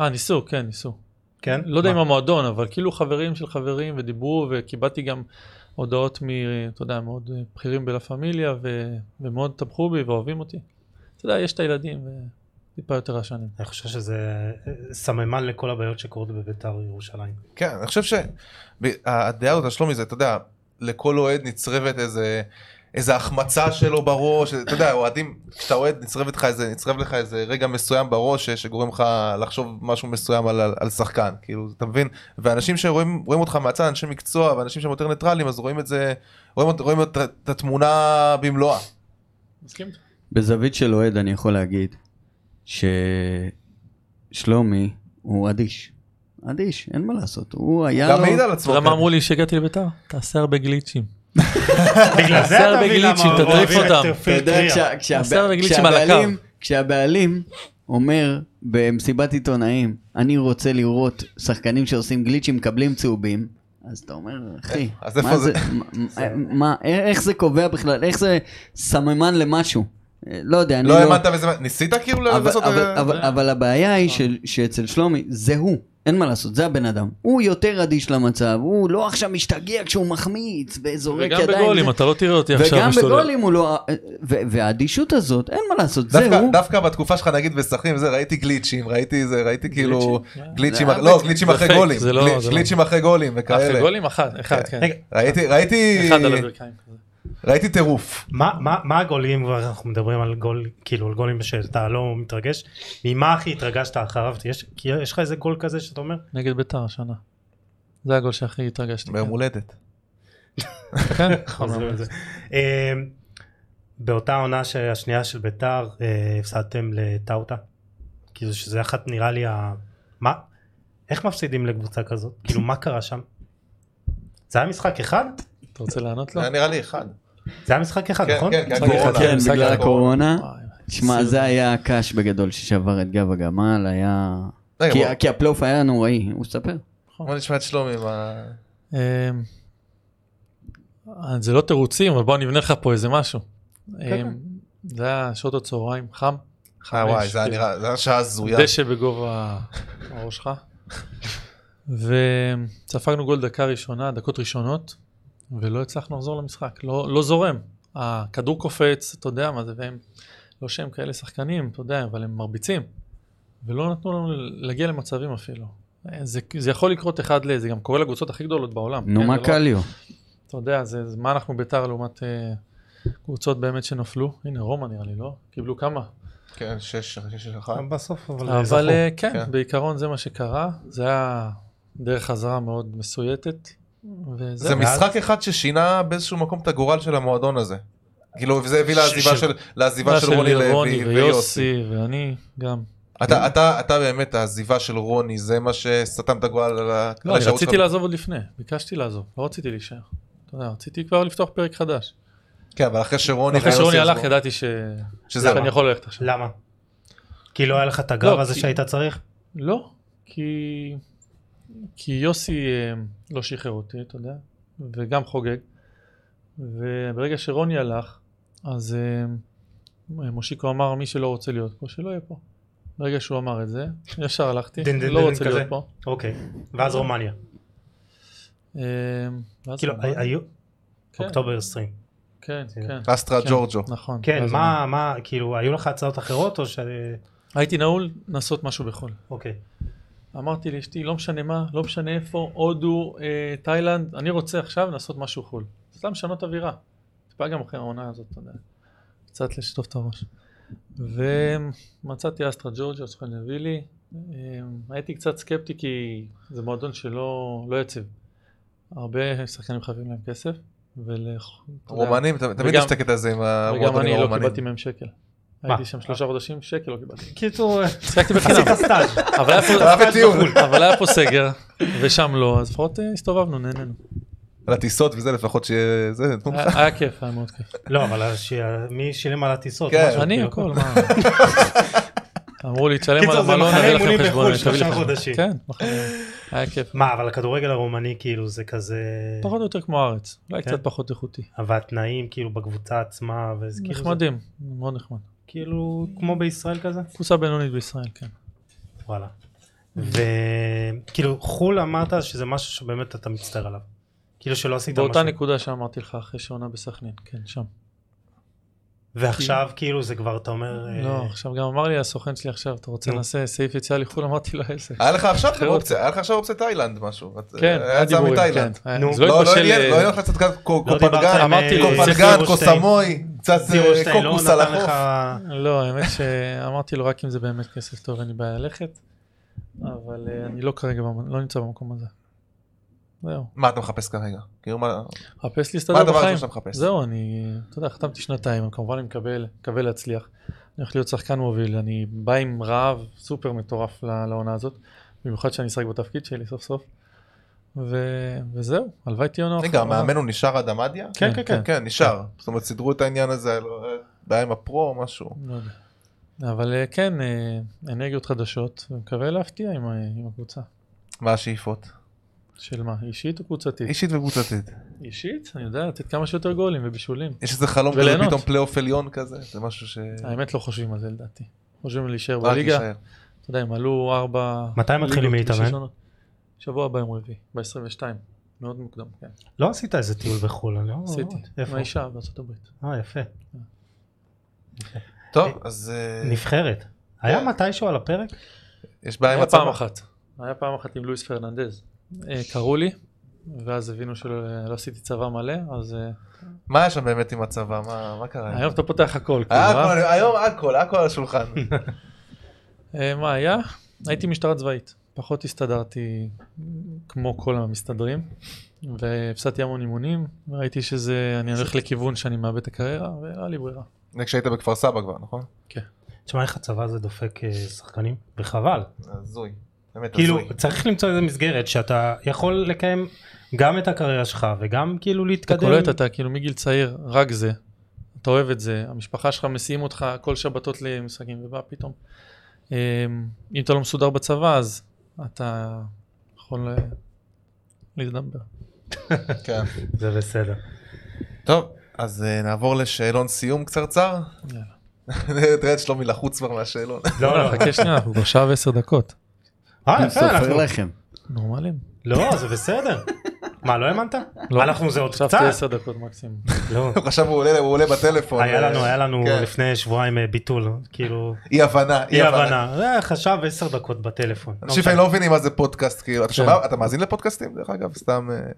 C: אה, ניסו, כן, ניסו.
D: כן?
C: לא יודע
D: מה?
C: אם המועדון, אבל כאילו חברים של חברים ודיברו, וקיבלתי גם הודעות מ... אתה יודע, מאוד אה, בכירים בלה פמיליה, ו... ומאוד תמכו בי ואוהבים אותי. אתה יודע, יש את הילדים, וטיפה יותר רשנים.
D: אני חושב שזה אה, סממן לכל הבעיות שקורות בביתר ירושלים.
B: כן, אני חושב שהדעה הזאת, שלומי, זה, אתה יודע, לכל אוהד נצרבת איזה... איזה החמצה שלו בראש, אתה יודע, אוהדים, כשאתה אוהד נצרב לך איזה, נצרב לך איזה רגע מסוים בראש ש- שגורם לך לחשוב משהו מסוים על, על, על שחקן, כאילו, אתה מבין? ואנשים שרואים רואים אותך מהצד, אנשי מקצוע ואנשים שהם יותר ניטרלים, אז רואים את זה, רואים, רואים את, את התמונה במלואה.
C: מסכים?
E: בזווית של אוהד אני יכול להגיד ששלומי הוא אדיש. אדיש, אין מה לעשות. הוא היה
B: גם
E: לו...
B: מעיד על עצמו.
C: אתה יודע
B: כן.
C: מה אמרו לי כשהגעתי לביתר? תעשה הרבה גליצ'ים.
D: בגלל
C: זה אתה מבין למה גליצ'ים, אוהבים תטריף את אותם. טרפילד
E: אתה יודע, כשה- כשהבע-
C: עשה רגלית שם על הקו.
E: כשהבעלים, כשהבעלים אומר במסיבת עיתונאים, אני רוצה לראות שחקנים שעושים גליצ'ים מקבלים צהובים, אז אתה אומר, אחי,
B: אה, אז איפה
E: מה
B: זה?"
E: מה- מה, אה, איך זה קובע בכלל? איך זה סממן למשהו? אה, לא יודע, אני
B: לא
E: לא...
B: האמנת בזה, ניסית כאילו
E: אבל,
B: לעשות...
E: אבל,
B: אה,
E: אבל, אבל הבעיה היא של, שאצל שלומי זה הוא, אין מה לעשות, זה הבן אדם. הוא יותר אדיש למצב, הוא לא עכשיו משתגע כשהוא מחמיץ וזורק
C: וגם
E: ידיים.
C: בגולים,
E: זה-
C: אתה לא תראה אותי עכשיו
E: וגם
C: משתולל.
E: בגולים הוא לא... ו- והאדישות הזאת, אין מה לעשות, זה
B: דווקא,
E: הוא.
B: דווקא בתקופה שלך נגיד בסכנין זה ראיתי גליצ'ים ראיתי זה ראיתי כאילו
C: גליצ'ים?
B: גליצ'ים
E: לא,
B: אח-
E: זה-
B: לא גליצ'ים
C: זה
B: אחרי
C: פייק,
B: גולים
C: זה לא-
B: גלי-
C: זה לא.
B: גליצ'ים אחרי גולים
C: אחרי
B: וכאלה אה,
C: גולים? אחד, אחד, כן.
D: רגע,
B: ראיתי ראיתי
C: אחד על הברכיים. כזה.
B: ראיתי טירוף
D: מה, מה, מה הגולים, אנחנו מדברים על גול, כאילו על גולים שאתה לא מתרגש, ממה הכי התרגשת אחריו? יש, כי יש לך איזה גול כזה שאתה אומר?
C: נגד ביתר השנה. זה הגול שהכי התרגשתי.
B: ביום הולדת
C: כן,
D: חוזרים על זה. אמ, באותה עונה ש- השנייה של ביתר, אה, הפסדתם לטאוטה. כאילו שזה אחת נראה לי ה... מה? איך מפסידים לקבוצה כזאת? כאילו מה קרה שם? זה היה משחק אחד?
C: אתה רוצה לענות לו?
B: זה היה נראה לי אחד
D: זה היה משחק אחד,
B: כן,
D: נכון?
B: כן, כן,
D: משחק
B: הקורונה.
D: אחד.
E: כן,
C: לא. משחק
E: בגלל
C: אחד.
E: הקורונה.
C: וואי,
E: שמע, זה היה הקש בגדול ששבר את גב הגמל, היה...
B: רגע,
E: כי-
B: בוא-
E: כי הפלייאוף היה נוראי, הוא ספר.
C: כן,
B: בוא נשמע את שלומי מה
C: אמ, אה, זה לא תירוצים, אבל בוא אני אבנה לך פה איזה משהו.
D: כן.
C: אמ, זה היה שעות הצהריים, חם.
B: אה,
C: חמש,
B: וואי זה היה
C: כן.
B: נראה זה היה שעה הזויה
C: דשא בגובה הראש שלך. וספגנו גול דקה ראשונה, דקות ראשונות, ולא הצלחנו לחזור למשחק, לא, לא זורם. הכדור קופץ, אתה יודע מה זה, והם, לא שהם כאלה שחקנים, אתה יודע, אבל הם מרביצים. ולא נתנו לנו להגיע למצבים אפילו. זה, זה יכול לקרות אחד ל... זה גם קורה לקבוצות הכי גדולות בעולם.
E: נו,
C: כן,
E: מה
C: זה לא-
E: קליו?
C: אתה יודע, זה, זה מה אנחנו ביתר לעומת אה, קבוצות באמת שנפלו. הנה, רומא נראה לי, לא? קיבלו כמה?
B: כן שש שש אחד
C: אה,
D: בסוף, אבל... זכו.
C: אבל אה, כן,
B: כן.
C: בעיקרון זה מה שקרה, זה היה דרך חזרה מאוד מסויטת. וזה,
B: זה משחק אחד ששינה באיזשהו מקום את הגורל של המועדון הזה כאילו וזה הביא לעזיבה
C: ש-
B: של לעזיבה של רוני לוי ויוסי
C: ויוסי ואני גם.
B: אתה אתה אתה באמת העזיבה של רוני זה מה שסתם את הגורל על ה- על
C: לא, אני
B: האפשרות
C: רציתי
B: שלך.
C: לעזוב עוד לפני, ביקשתי לעזוב, לא רציתי להישאר. אתה יודע, רציתי כבר לפתוח פרק חדש.
B: כן אבל אחרי שרוני
C: אחרי
B: ויוסי
C: שרוני הלך
B: עזבו.
C: ידעתי ש...
B: שזה
C: אני יכול ללכת עכשיו.
D: למה? כי לא היה לך את הגב
C: לא,
D: הזה
C: כי-
D: שהיית צריך?
C: לא, כי... כי יוסי אה, לא שחרר אותי, אתה יודע, וגם חוגג. וברגע שרוני הלך, אז אה, מושיקו אמר, מי שלא רוצה להיות פה, שלא יהיה פה. ברגע שהוא אמר את זה, ישר הלכתי,
D: דין, דין,
C: לא
D: דין
C: רוצה
D: כזה.
C: להיות פה.
D: אוקיי.
C: לא.
D: ואז רומניה.
C: אה, ואז
D: כאילו,
C: הוא אמר,
D: היו...
C: כן,
D: אוקטובר 20.
C: כן, כן.
B: אסטרה
C: כן,
B: ג'ורג'ו.
C: נכון.
D: כן,
C: ואז הוא אמר,
D: מה, מה, כאילו, היו לך הצעות אחרות או ש...
C: הייתי נעול, לעשות משהו בחו"ל.
D: אוקיי.
C: אמרתי לאשתי, לא משנה מה, לא משנה איפה, הודו, אה, תאילנד, אני רוצה עכשיו לעשות משהו חו"ל. סתם לשנות אווירה. טיפה גם אחרי העונה הזאת, אתה יודע. קצת לשטוף את הראש. ומצאתי אסטרה ג'ורג'ה, סוכן הביא לי. אה, הייתי קצת סקפטי כי זה מועדון שלא לא יציב. הרבה שחקנים חייבים להם כסף. ול... אתה יודע,
B: רומנים, ת- תמיד
C: וגם-
B: יש את הקטע הזה עם
C: וגם אני
B: המועדונים
C: לא
B: הרומנים.
C: קיבלתי מהם שקל. הייתי שם שלושה חודשים, שקל לא קיבלתי.
D: קיצור, אה,
C: שיחקתי
D: עשית
C: בחינם.
D: סטאז'.
C: אבל היה פה-
B: אתה היה בטיול,
C: אבל היה פה סגר, ושם לא, אז לפחות אה, הסתובבנו, נהנינו.
B: על הטיסות וזה לפחות שיהיה זה, נתנו לך.
C: היה היה כיף, היה מאוד כיף.
D: לא, אבל הש- מי שילם על הטיסות?
B: כן.
D: משהו,
C: אני
D: כאילו.
C: הכל, מה? אמרו לי, תשלם על
D: קיצור, זה
C: המלון,
D: מחנה
C: נביא
D: אימונים
C: לכם חשבון,
D: בחו"ל,
C: נביא
D: שלושה
C: לכם חשבון.
D: חודשים.
C: כן, מחנה. היה כיף.
D: מה, אבל הכדורגל הרומני כאילו זה כזה...
C: פחות או יותר כמו הארץ, אולי
D: כן.
C: קצת פחות איכותי.
D: אבל התנאים כאילו בקבוצה עצמה, וזה כאילו... זה-
C: נחמדים, מאוד נחמד.
D: כאילו כמו בישראל כזה?
C: קבוצה בינונית בישראל, כן.
D: וואלה. וכאילו חו"ל אמרת שזה משהו שבאמת אתה מצטער עליו. כאילו שלא עשית
C: באותה
D: משהו.
C: נקודה שאמרתי לך אחרי שעונה בסכנין, כן, שם.
D: ועכשיו כאילו זה כבר אתה אומר... אה,
C: לא, עכשיו גם אמר לי הסוכן שלי עכשיו, אתה רוצה
D: נו. אה,
C: נעשה סעיף יציאה לחו"ל? אמרתי לו איזה.
B: היה לך עכשיו
C: חירות.
B: אופציה, היה לך עכשיו אופציה תאילנד משהו. את-
C: כן,
B: היה
C: היה
B: יצא
C: דיבורים, כן.
B: מתאילנד.
C: היה-
D: נו.
C: אז
B: לא,
C: לא
B: לא
C: התבשל...
B: עניין לא
C: אה,
B: עניין לך קצת קצת קו-
D: לא דיברת
B: קופנגן,
D: עם,
C: אמרתי,
D: אה,
B: קופנגן,
D: זירו שטיין.
B: קוסמוי, קצת
D: זירו
B: אה,
D: שטיין, לא
B: קוקוס על
D: נתן לך...
B: החוף.
C: לא, האמת שאמרתי לו רק אם זה באמת כסף טוב, אין לי בעיה ללכת, אבל אה, אני לא כרגע, במ- לא נמצא במקום הזה. זהו.
B: מה אתה מחפש כרגע? כאילו מה...
C: מחפש
B: מה
C: להסתדר
B: הדבר
C: בחיים.
B: הראשון שאתה מחפש?
C: זהו, אני, אתה יודע, חתמתי שנתיים, אני כמובן אני מקבל, מקווה להצליח. אני הולך להיות שחקן מוביל, אני בא עם רעב סופר מטורף ל- לעונה הזאת, במיוחד שאני אשחק בתפקיד שלי סוף סוף. ו... וזהו, הלוואי תהיה עונה.
B: רגע,
C: אחרונה.
B: המאמן הוא נשאר עד המדיה?
C: כן, כן,
B: כן, כן, נשאר. זאת אומרת, סידרו את העניין הזה, לא, אה, בעיה עם הפרו או משהו.
C: לא יודע. אבל אה, כן, אה, אנרגיות חדשות, ומקווה להפתיע עם, ה- עם הקבוצה.
B: מה השאיפות?
C: של מה, אישית או קבוצתית?
B: אישית וקבוצתית.
C: אישית? אני יודע, לתת כמה שיותר גולים ובישולים.
B: יש איזה חלום כזה,
C: וליהנות.
B: פתאום פלייאוף עליון כזה? זה משהו ש...
C: האמת לא חושבים על זה לדעתי. חושבים על להישאר
B: רק
C: בליגה.
B: להישאר.
C: אתה יודע, הם עלו ארבע...
D: מתי הם מתחילים
C: ליגות
D: להתאמן?
C: בשש עונות. שבוע הבא יום רביעי, ב-22. מאוד מוקדם, כן.
D: לא עשית איזה טיול בחו"ל, אני לא...
C: עשיתי. עם
D: איפה?
C: האישה בארצות הברית.
D: אה, יפה.
B: טוב, אז אה,
D: נבחרת. היה מתישהו על הפרק?
B: יש בעיה עם
C: היה פעם
B: הצבא.
C: אחת. היה פעם אחת עם לואיס פרננדז. אה, קראו לי, ואז הבינו שלא לא עשיתי צבא מלא, אז אה,
B: מה היה שם באמת עם הצבא? מה- מה קרה?
C: היום אתה פותח הכל. כאילו,
B: היה
C: אה?
B: הכל, היום הכל, הכל על השולחן.
C: אה, מה היה? הייתי משטרה צבאית. פחות הסתדרתי כמו כל המסתדרים, והפסדתי המון אימונים, וראיתי שזה, אני הולך לכיוון שאני מאבד את הקריירה, ולא היה לי ברירה.
B: זה כשהיית בכפר סבא כבר, נכון?
D: תשמע איך הצבא הזה דופק אה, שחקנים, וחבל.
B: הזוי. באמת
D: כאילו
B: הזוי.
D: צריך למצוא איזה מסגרת שאתה יכול לקיים גם את הקריירה שלך וגם כאילו
C: אתה
D: להתקדם.
C: קולט, אתה כאילו מגיל צעיר, רק זה. אתה אוהב את זה, המשפחה שלך מסיעים אותך כל שבתות למשחקים, ובא פתאום. אמ, אם אתה לא מסודר בצבא, אז אתה יכול אה, להתדבר.
B: כן.
D: זה בסדר.
B: טוב, אז אה, נעבור לשאלון סיום קצרצר.
C: יאללה.
B: תראה את שלומי לחוץ כבר מהשאלון.
D: לא, לא,
C: חכה שנייה, אנחנו כבר שעה ועשר דקות.
D: אה, יפה, אנחנו...
E: סופר לחם.
C: נורמלים.
D: לא, זה בסדר. מה, לא האמנת?
C: לא.
D: אנחנו זה עוד
C: עכשיו
D: קצת.
C: תהיה עשר דקות מקסימום.
D: לא.
B: הוא חשב הוא עולה- הוא עולה בטלפון.
D: היה
B: אה,
D: לנו, היה לנו
B: כן.
D: לפני שבועיים אה, ביטול, כאילו,
B: אי הבנה,
D: אי הבנה. אה, חשב עשר דקות בטלפון. לא
B: אנשים
D: משנה.
B: לפעמים לא מבינים מה זה פודקאסט, כאילו, אתה
C: אוקיי. כן.
B: שומע, אתה מאזין לפודקאסטים דרך אגב, סתם, אה,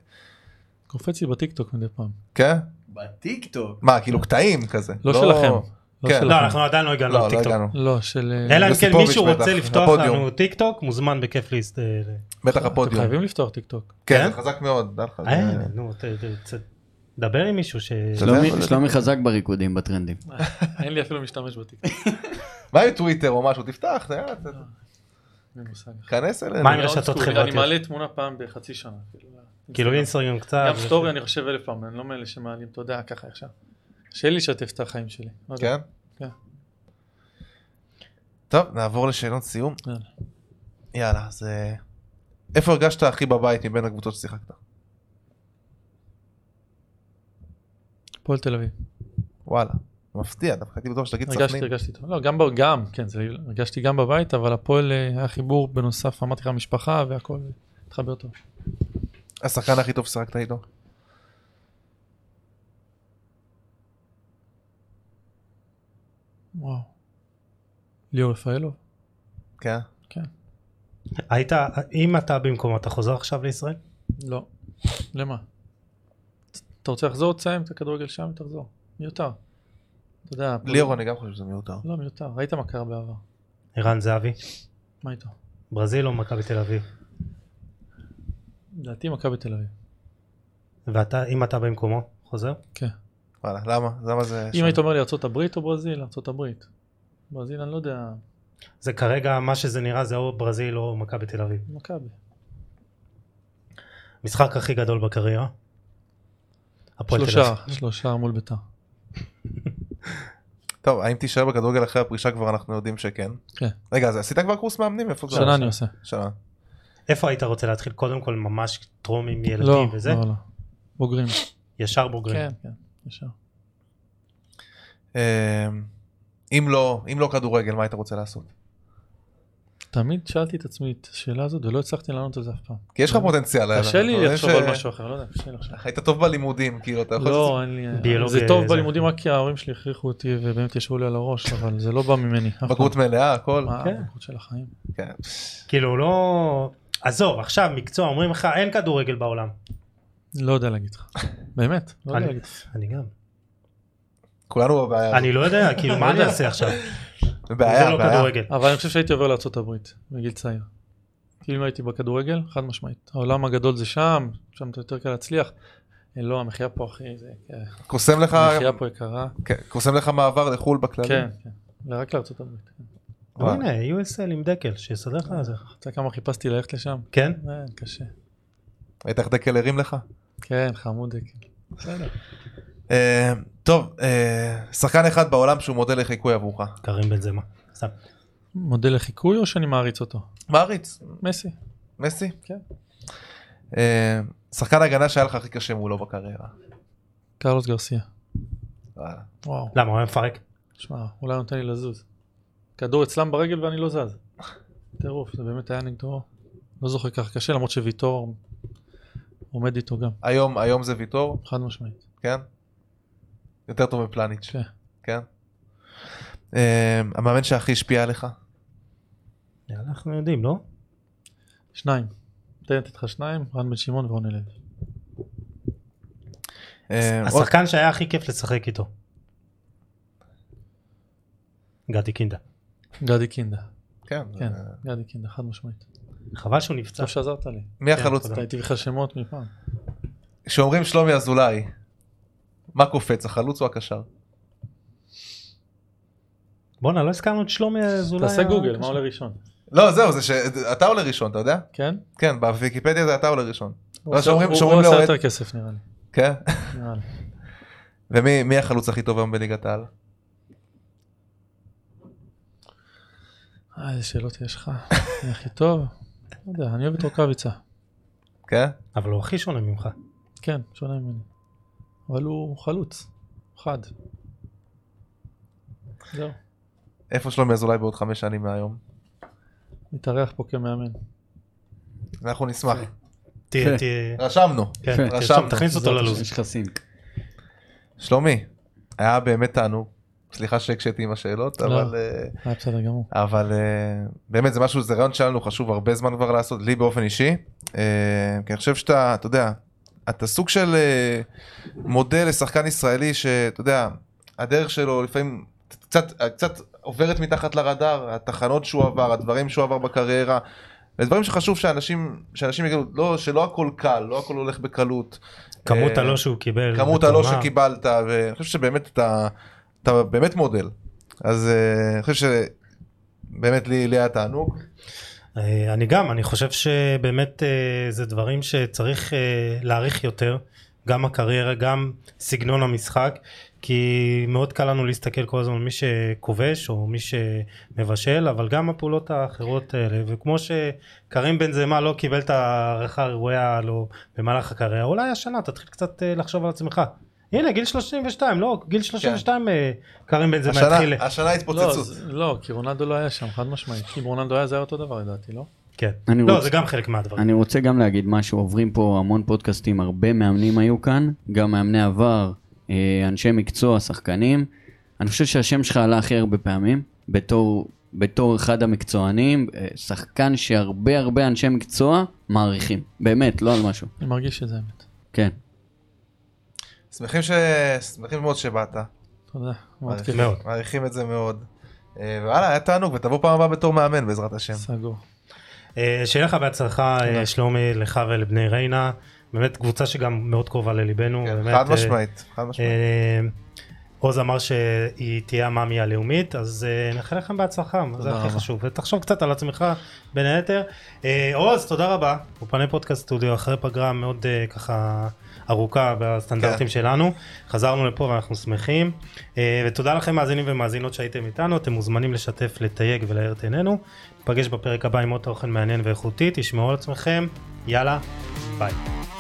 C: קופץ לי בטיקטוק מדי פעם.
B: כן?
F: בטיקטוק.
B: מה, כאילו קטעים כזה.
C: לא שלכם. לא
B: כן.
D: לא,
C: שלכם.
D: אנחנו עדיין לא הגענו
B: לא, לא
D: לטיקטוק.
B: הגענו.
C: לא, של... אה,
D: אלא אם כן
B: יוסיפוביץ'
D: מישהו רוצה
B: בטח,
D: לפתוח
B: הפודיום.
D: לנו טיקטוק, מוזמן בכיף להסת... אה,
B: בטח
C: אתם
B: הפודיום.
C: חייבים לפתוח טיקטוק.
B: כן,
D: כן?
B: זה חזק מאוד, דע לך. זה-
D: אה, נו, ת- ת- ת- דבר עם מישהו ש...
E: שלומי-
B: אבל-
E: שלומי חזק בריקודים, בטרנדים.
C: אין לי אפילו משתמש בטיקטוק.
B: מה עם טוויטר או משהו? תפתח, תראה, ת-
C: אין לי מושג.
B: תיכנס אלינו.
D: מה עם
C: אני
D: רשתות
C: אולד סקול,
D: חברתיות?
C: אני מעלה תמונה פעם בחצי שנה. כאילו,
D: כאילו
B: לא-
C: אינסטגרם.
D: אינסטגרם קצת.
C: גם סטורי אני חושב אלף פעם, אני לא מאלה שמעלים, אתה יודע, ככה ישר. קשה לי לשתף את החיים שלי. לא יודע.
B: כן?
C: כן.
B: טוב, נעבור לשאלות סיום.
C: יאללה.
B: יאללה, אז אה, איפה הרגשת הכי בבית מבין הקבוצות ששיחקת?
C: הפועל תל אביב.
B: וואלה, מפתיע, דווקא הייתי בטוח שתגיד
C: הרגשתי,
B: סכנין.
C: הרגשתי טוב. לא, גם, ב- גם, כן, זה, הרגשתי גם בבית, אבל הפועל אה, היה חיבור בנוסף, אמרתי לך, משפחה והכל התחבר טוב.
B: השחקן הכי טוב ששיחקת איתו.
C: וואו. ליאור רפאלוב?
B: כן.
C: כן.
D: היית, אם אתה במקומו, אתה חוזר עכשיו לישראל?
C: לא. למה? אתה רוצה לחזור? תסיים את הכדורגל שם ותחזור. מיותר. אתה יודע, הפועל-
B: ליאור אני גם חושב שזה מיותר.
C: לא, מיותר. ראית מה קרה בעבר.
D: ערן זהבי,
C: מה איתו?
D: ברזיל או מכבי תל אביב?
C: לדעתי מכבי תל אביב.
D: ואתה, אם אתה במקומו, חוזר?
C: כן.
B: וואלה, למה? למה זה...
C: אם
B: שם?
C: היית אומר לי ארה"ב או ברזיל, ארה"ב. ברזיל אני לא יודע,
D: זה כרגע, מה שזה נראה זה או ברזיל או מכבי תל אביב.
C: מכבי.
D: משחק הכי גדול בקריירה? הפועל תל
C: שלושה,
D: אביב. לא,
C: שלושה מול ביתר.
B: טוב, האם תישאר בכדורגל אחרי הפרישה כבר אנחנו יודעים שכן.
C: כן.
D: לא,
B: רגע, אז עשית כבר קורס מאמנים? איפה זה?
C: שנה אני עושה.
B: שנה.
D: איפה היית רוצה להתחיל? קודם כל ממש טרום עם ילדים
C: לא,
D: וזה?
C: לא, לא. בוגרים.
D: ישר בוגרים.
C: כן, כן, ישר.
B: אה, אם לא, אם לא כדורגל, מה היית רוצה לעשות?
C: תמיד שאלתי את עצמי את השאלה הזאת ולא הצלחתי לענות על זה אף פעם.
D: לא,
B: כי יש לך פוטנציאל. אה,
C: קשה
B: אבל
C: לי
B: יש,
C: לחשוב
B: אה,
C: על משהו אחר, לא יודע, קשה לי לחשוב.
B: היית טוב בלימודים, כאילו, אתה יכול... לעשות-
C: לא, אין לי...
D: ביולוגיה
C: זה טוב
D: זה-
C: בלימודים רק כי ההורים שלי הכריחו אותי ובאמת ישבו לי על הראש, אבל זה לא בא ממני. אף פעם.
B: בגרות מלאה, הכל.
C: מה,
D: כן.
C: הבגרות של החיים.
B: כן.
D: כאילו לא... עזוב, עכשיו מקצוע, אומרים לך אין כדורגל בעולם.
C: לא יודע להגיד לך. באמת, לא יודע
D: אני-
C: להגיד לך.
D: אני גם.
B: כולנו בבעיה.
D: אני לא יודע, כאילו מה אני אעשה עכשיו?
B: בבעיה,
D: זה לא
B: בעיה.
D: כדורגל.
C: אבל אני חושב שהייתי עובר לארה"ב בגיל צעיר. כאילו אם הייתי בכדורגל, חד משמעית. העולם הגדול זה שם, שם אתה יותר קל להצליח. אה, לא, המחיה פה אחי, זה...
B: קוסם לך,
C: המחיה פה יקרה.
B: כן, קוסם לך מעבר לחו"ל בכללי.
C: כן, כן. רק לארה"ב.
B: וואו.
D: הנה, USL עם דקל, שיסדר לך על זה.
C: אתה כמה חיפשתי ללכת לשם?
D: כן?
C: אה, קשה.
B: ראית איך דקל הרים לך?
C: כן, חמודק.
B: אה, טוב, אה, שחקן אחד בעולם שהוא מודל לחיקוי עבורך.
D: קרים בנזמה. סתם.
C: מודל לחיקוי או שאני מעריץ אותו?
B: מעריץ,
C: מסי.
B: מסי.
C: כן.
B: אה, שחקן הגנה שהיה לך הכי קשה מולו בקריירה.
C: קרלוס גרסיה.
B: וואלה.
C: וואו.
D: למה, הוא היה מפרק?
C: שמע, אולי נותן לי לזוז. כדור אצלם ברגל ואני לא זז. טירוף, זה באמת היה נגדו. לא זוכר כך קשה, למרות שוויטור עומד איתו גם,
B: היום, היום זה ויטור,
C: חד משמעית.
B: כן? יותר טוב מפלניץ',
C: כן.
B: כן? אה, המאמן שהכי השפיע עליך?
D: יאללה, אנחנו יודעים, לא?
C: שניים. תן לתת לך שניים, רן בן שמעון ורוני לוי.
B: אה, עוד-
D: השחקן שהיה הכי כיף לשחק איתו. גדי קינדה.
C: גדי קינדה.
B: כן.
C: כן,
B: אה,
C: גדי קינדה, חד משמעית.
D: חבל שהוא נפצע.
C: טוב שעזרת לי.
B: מי החלוץ?
D: תודה.
C: אתה הייתי לך שמות מפעם.
B: כשאומרים שלומי אזולאי, מה קופץ, החלוץ או הקשר?
D: בואנה, לא הזכרנו את שלומי אזולאי.
C: תעשה
D: ה-
C: גוגל, מה עולה ראשון?
B: לא, זהו, זה שאתה עולה ראשון, אתה יודע?
C: כן?
B: כן, בוויקיפדיה זה אתה עולה ראשון.
C: הוא עושה-
B: שאומרים-
C: הוא-
B: שאומרים
C: הוא עושה
B: לאוהד-
C: יותר כסף נראה לי.
B: כן?
C: נראה לי.
B: ומי מי החלוץ הכי טוב היום בליגת העל?
C: אה, איזה שאלות יש לך. מי הכי טוב? לא יודע, אני אוהב את רוקאביצה.
B: כן?
D: אבל הוא הכי שונה ממך.
C: כן, שונה ממני. אבל הוא חלוץ, הוא חד. זהו,
B: איפה שלומי אזולאי בעוד חמש שנים מהיום?
C: מתארח פה כמאמן.
B: אנחנו נשמח.
D: תהיה,
E: כן.
D: תהיה...
B: רשמנו.
D: כן,
E: כן.
D: תרשום,
B: רשמנו.
D: תכניס אותו ללוז.
E: יש לך סינק.
B: שלומי, היה באמת תענוג. סליחה שהקשיתי עם השאלות,
C: לא.
B: אבל... אה,
C: היה בסדר גמור.
B: אבל אה, באמת זה משהו, זה רעיון שלנו חשוב הרבה זמן כבר לעשות, לי באופן אישי. אה, כי אני חושב שאתה, אתה יודע, אתה סוג של אה, מודל לשחקן ישראלי שאתה יודע, הדרך שלו לפעמים קצת, קצת עוברת מתחת לרדאר, התחנות שהוא עבר, הדברים שהוא עבר בקריירה. ודברים שחשוב שאנשים, שאנשים יגידו, לא, שלא הכל קל, לא הכל הולך בקלות.
D: כמות
B: אה,
D: הלא שהוא קיבל.
B: כמות
D: בתרומה.
B: הלא שקיבלת ואני חושב שבאמת אתה אתה באמת מודל אז אה, אני חושב שבאמת לי לי היה תענוג
D: אה, אני גם, אני חושב שבאמת אה, זה דברים שצריך אה, להעריך יותר, גם הקריירה, גם סגנון המשחק, כי מאוד קל לנו להסתכל כל הזמן על מי שכובש או מי שמבשל, אבל גם הפעולות האחרות האלה, וכמו שקרים בן זמה לא קיבל את ההערכה הראויה לו במהלך הקריירה, אולי השנה תתחיל קצת אה, לחשוב על עצמך. הנה גיל 32, לא, גיל 32 אה, קרים בן זמה
B: השנה
D: התחיל,
B: השנה
C: לא,
B: התפוצצות
C: זה- לא, כי רונלדו לא היה שם, חד משמעית. אם רונלדו היה זה היה אותו דבר לדעתי, לא?
D: כן,
E: אני
D: לא
E: רוצה-
D: זה גם חלק מהדברים,
E: נכון. אני רוצה גם להגיד משהו, עוברים פה המון פודקאסטים, הרבה מאמנים היו כאן, גם מאמני עבר, אה, אנשי מקצוע, שחקנים. אני חושב שהשם שלך עלה הכי הרבה פעמים, בתור, בתור אחד המקצוענים, אה, שחקן שהרבה הרבה אנשי מקצוע מעריכים, באמת, לא על משהו,
C: אני מרגיש שזה האמת.
E: כן.
B: שמחים ש... שמחים מאוד שבאת
C: תודה, מאוד
B: מעריכים-
C: כיף.
D: מאוד.
B: מעריכים את זה מאוד אה, וואלה היה תענוג ותבוא פעם הבאה בתור מאמן בעזרת השם
C: סגור.
D: אה, שיהיה לך בהצלחה אה,
C: תודה.
D: שלומי לך ולבני ריינה באמת קבוצה שגם מאוד קרובה לליבנו
B: כן,
D: באמת,
B: חד
D: אה,
B: משמעית חד משמעית
D: אה, עוז אמר שהיא תהיה המאמי הלאומית אז אה, נאחל לכם בהצלחה מה זה
C: תודה
D: הכי
C: רבה.
D: חשוב ותחשוב קצת על עצמך בין היתר אה, עוז תודה רבה אולפני פודקאסט סטודיו אחרי פגרה מאוד אה, ככה ארוכה
C: כן.
D: בסטנדרטים שלנו. חזרנו לפה ואנחנו שמחים. אה, ותודה לכם מאזינים ומאזינות שהייתם איתנו, אתם מוזמנים לשתף, לתייג ולהאיר את עינינו. ניפגש בפרק הבא עם עוד תוכן מעניין ואיכותי, תשמעו על עצמכם, יאללה, ביי.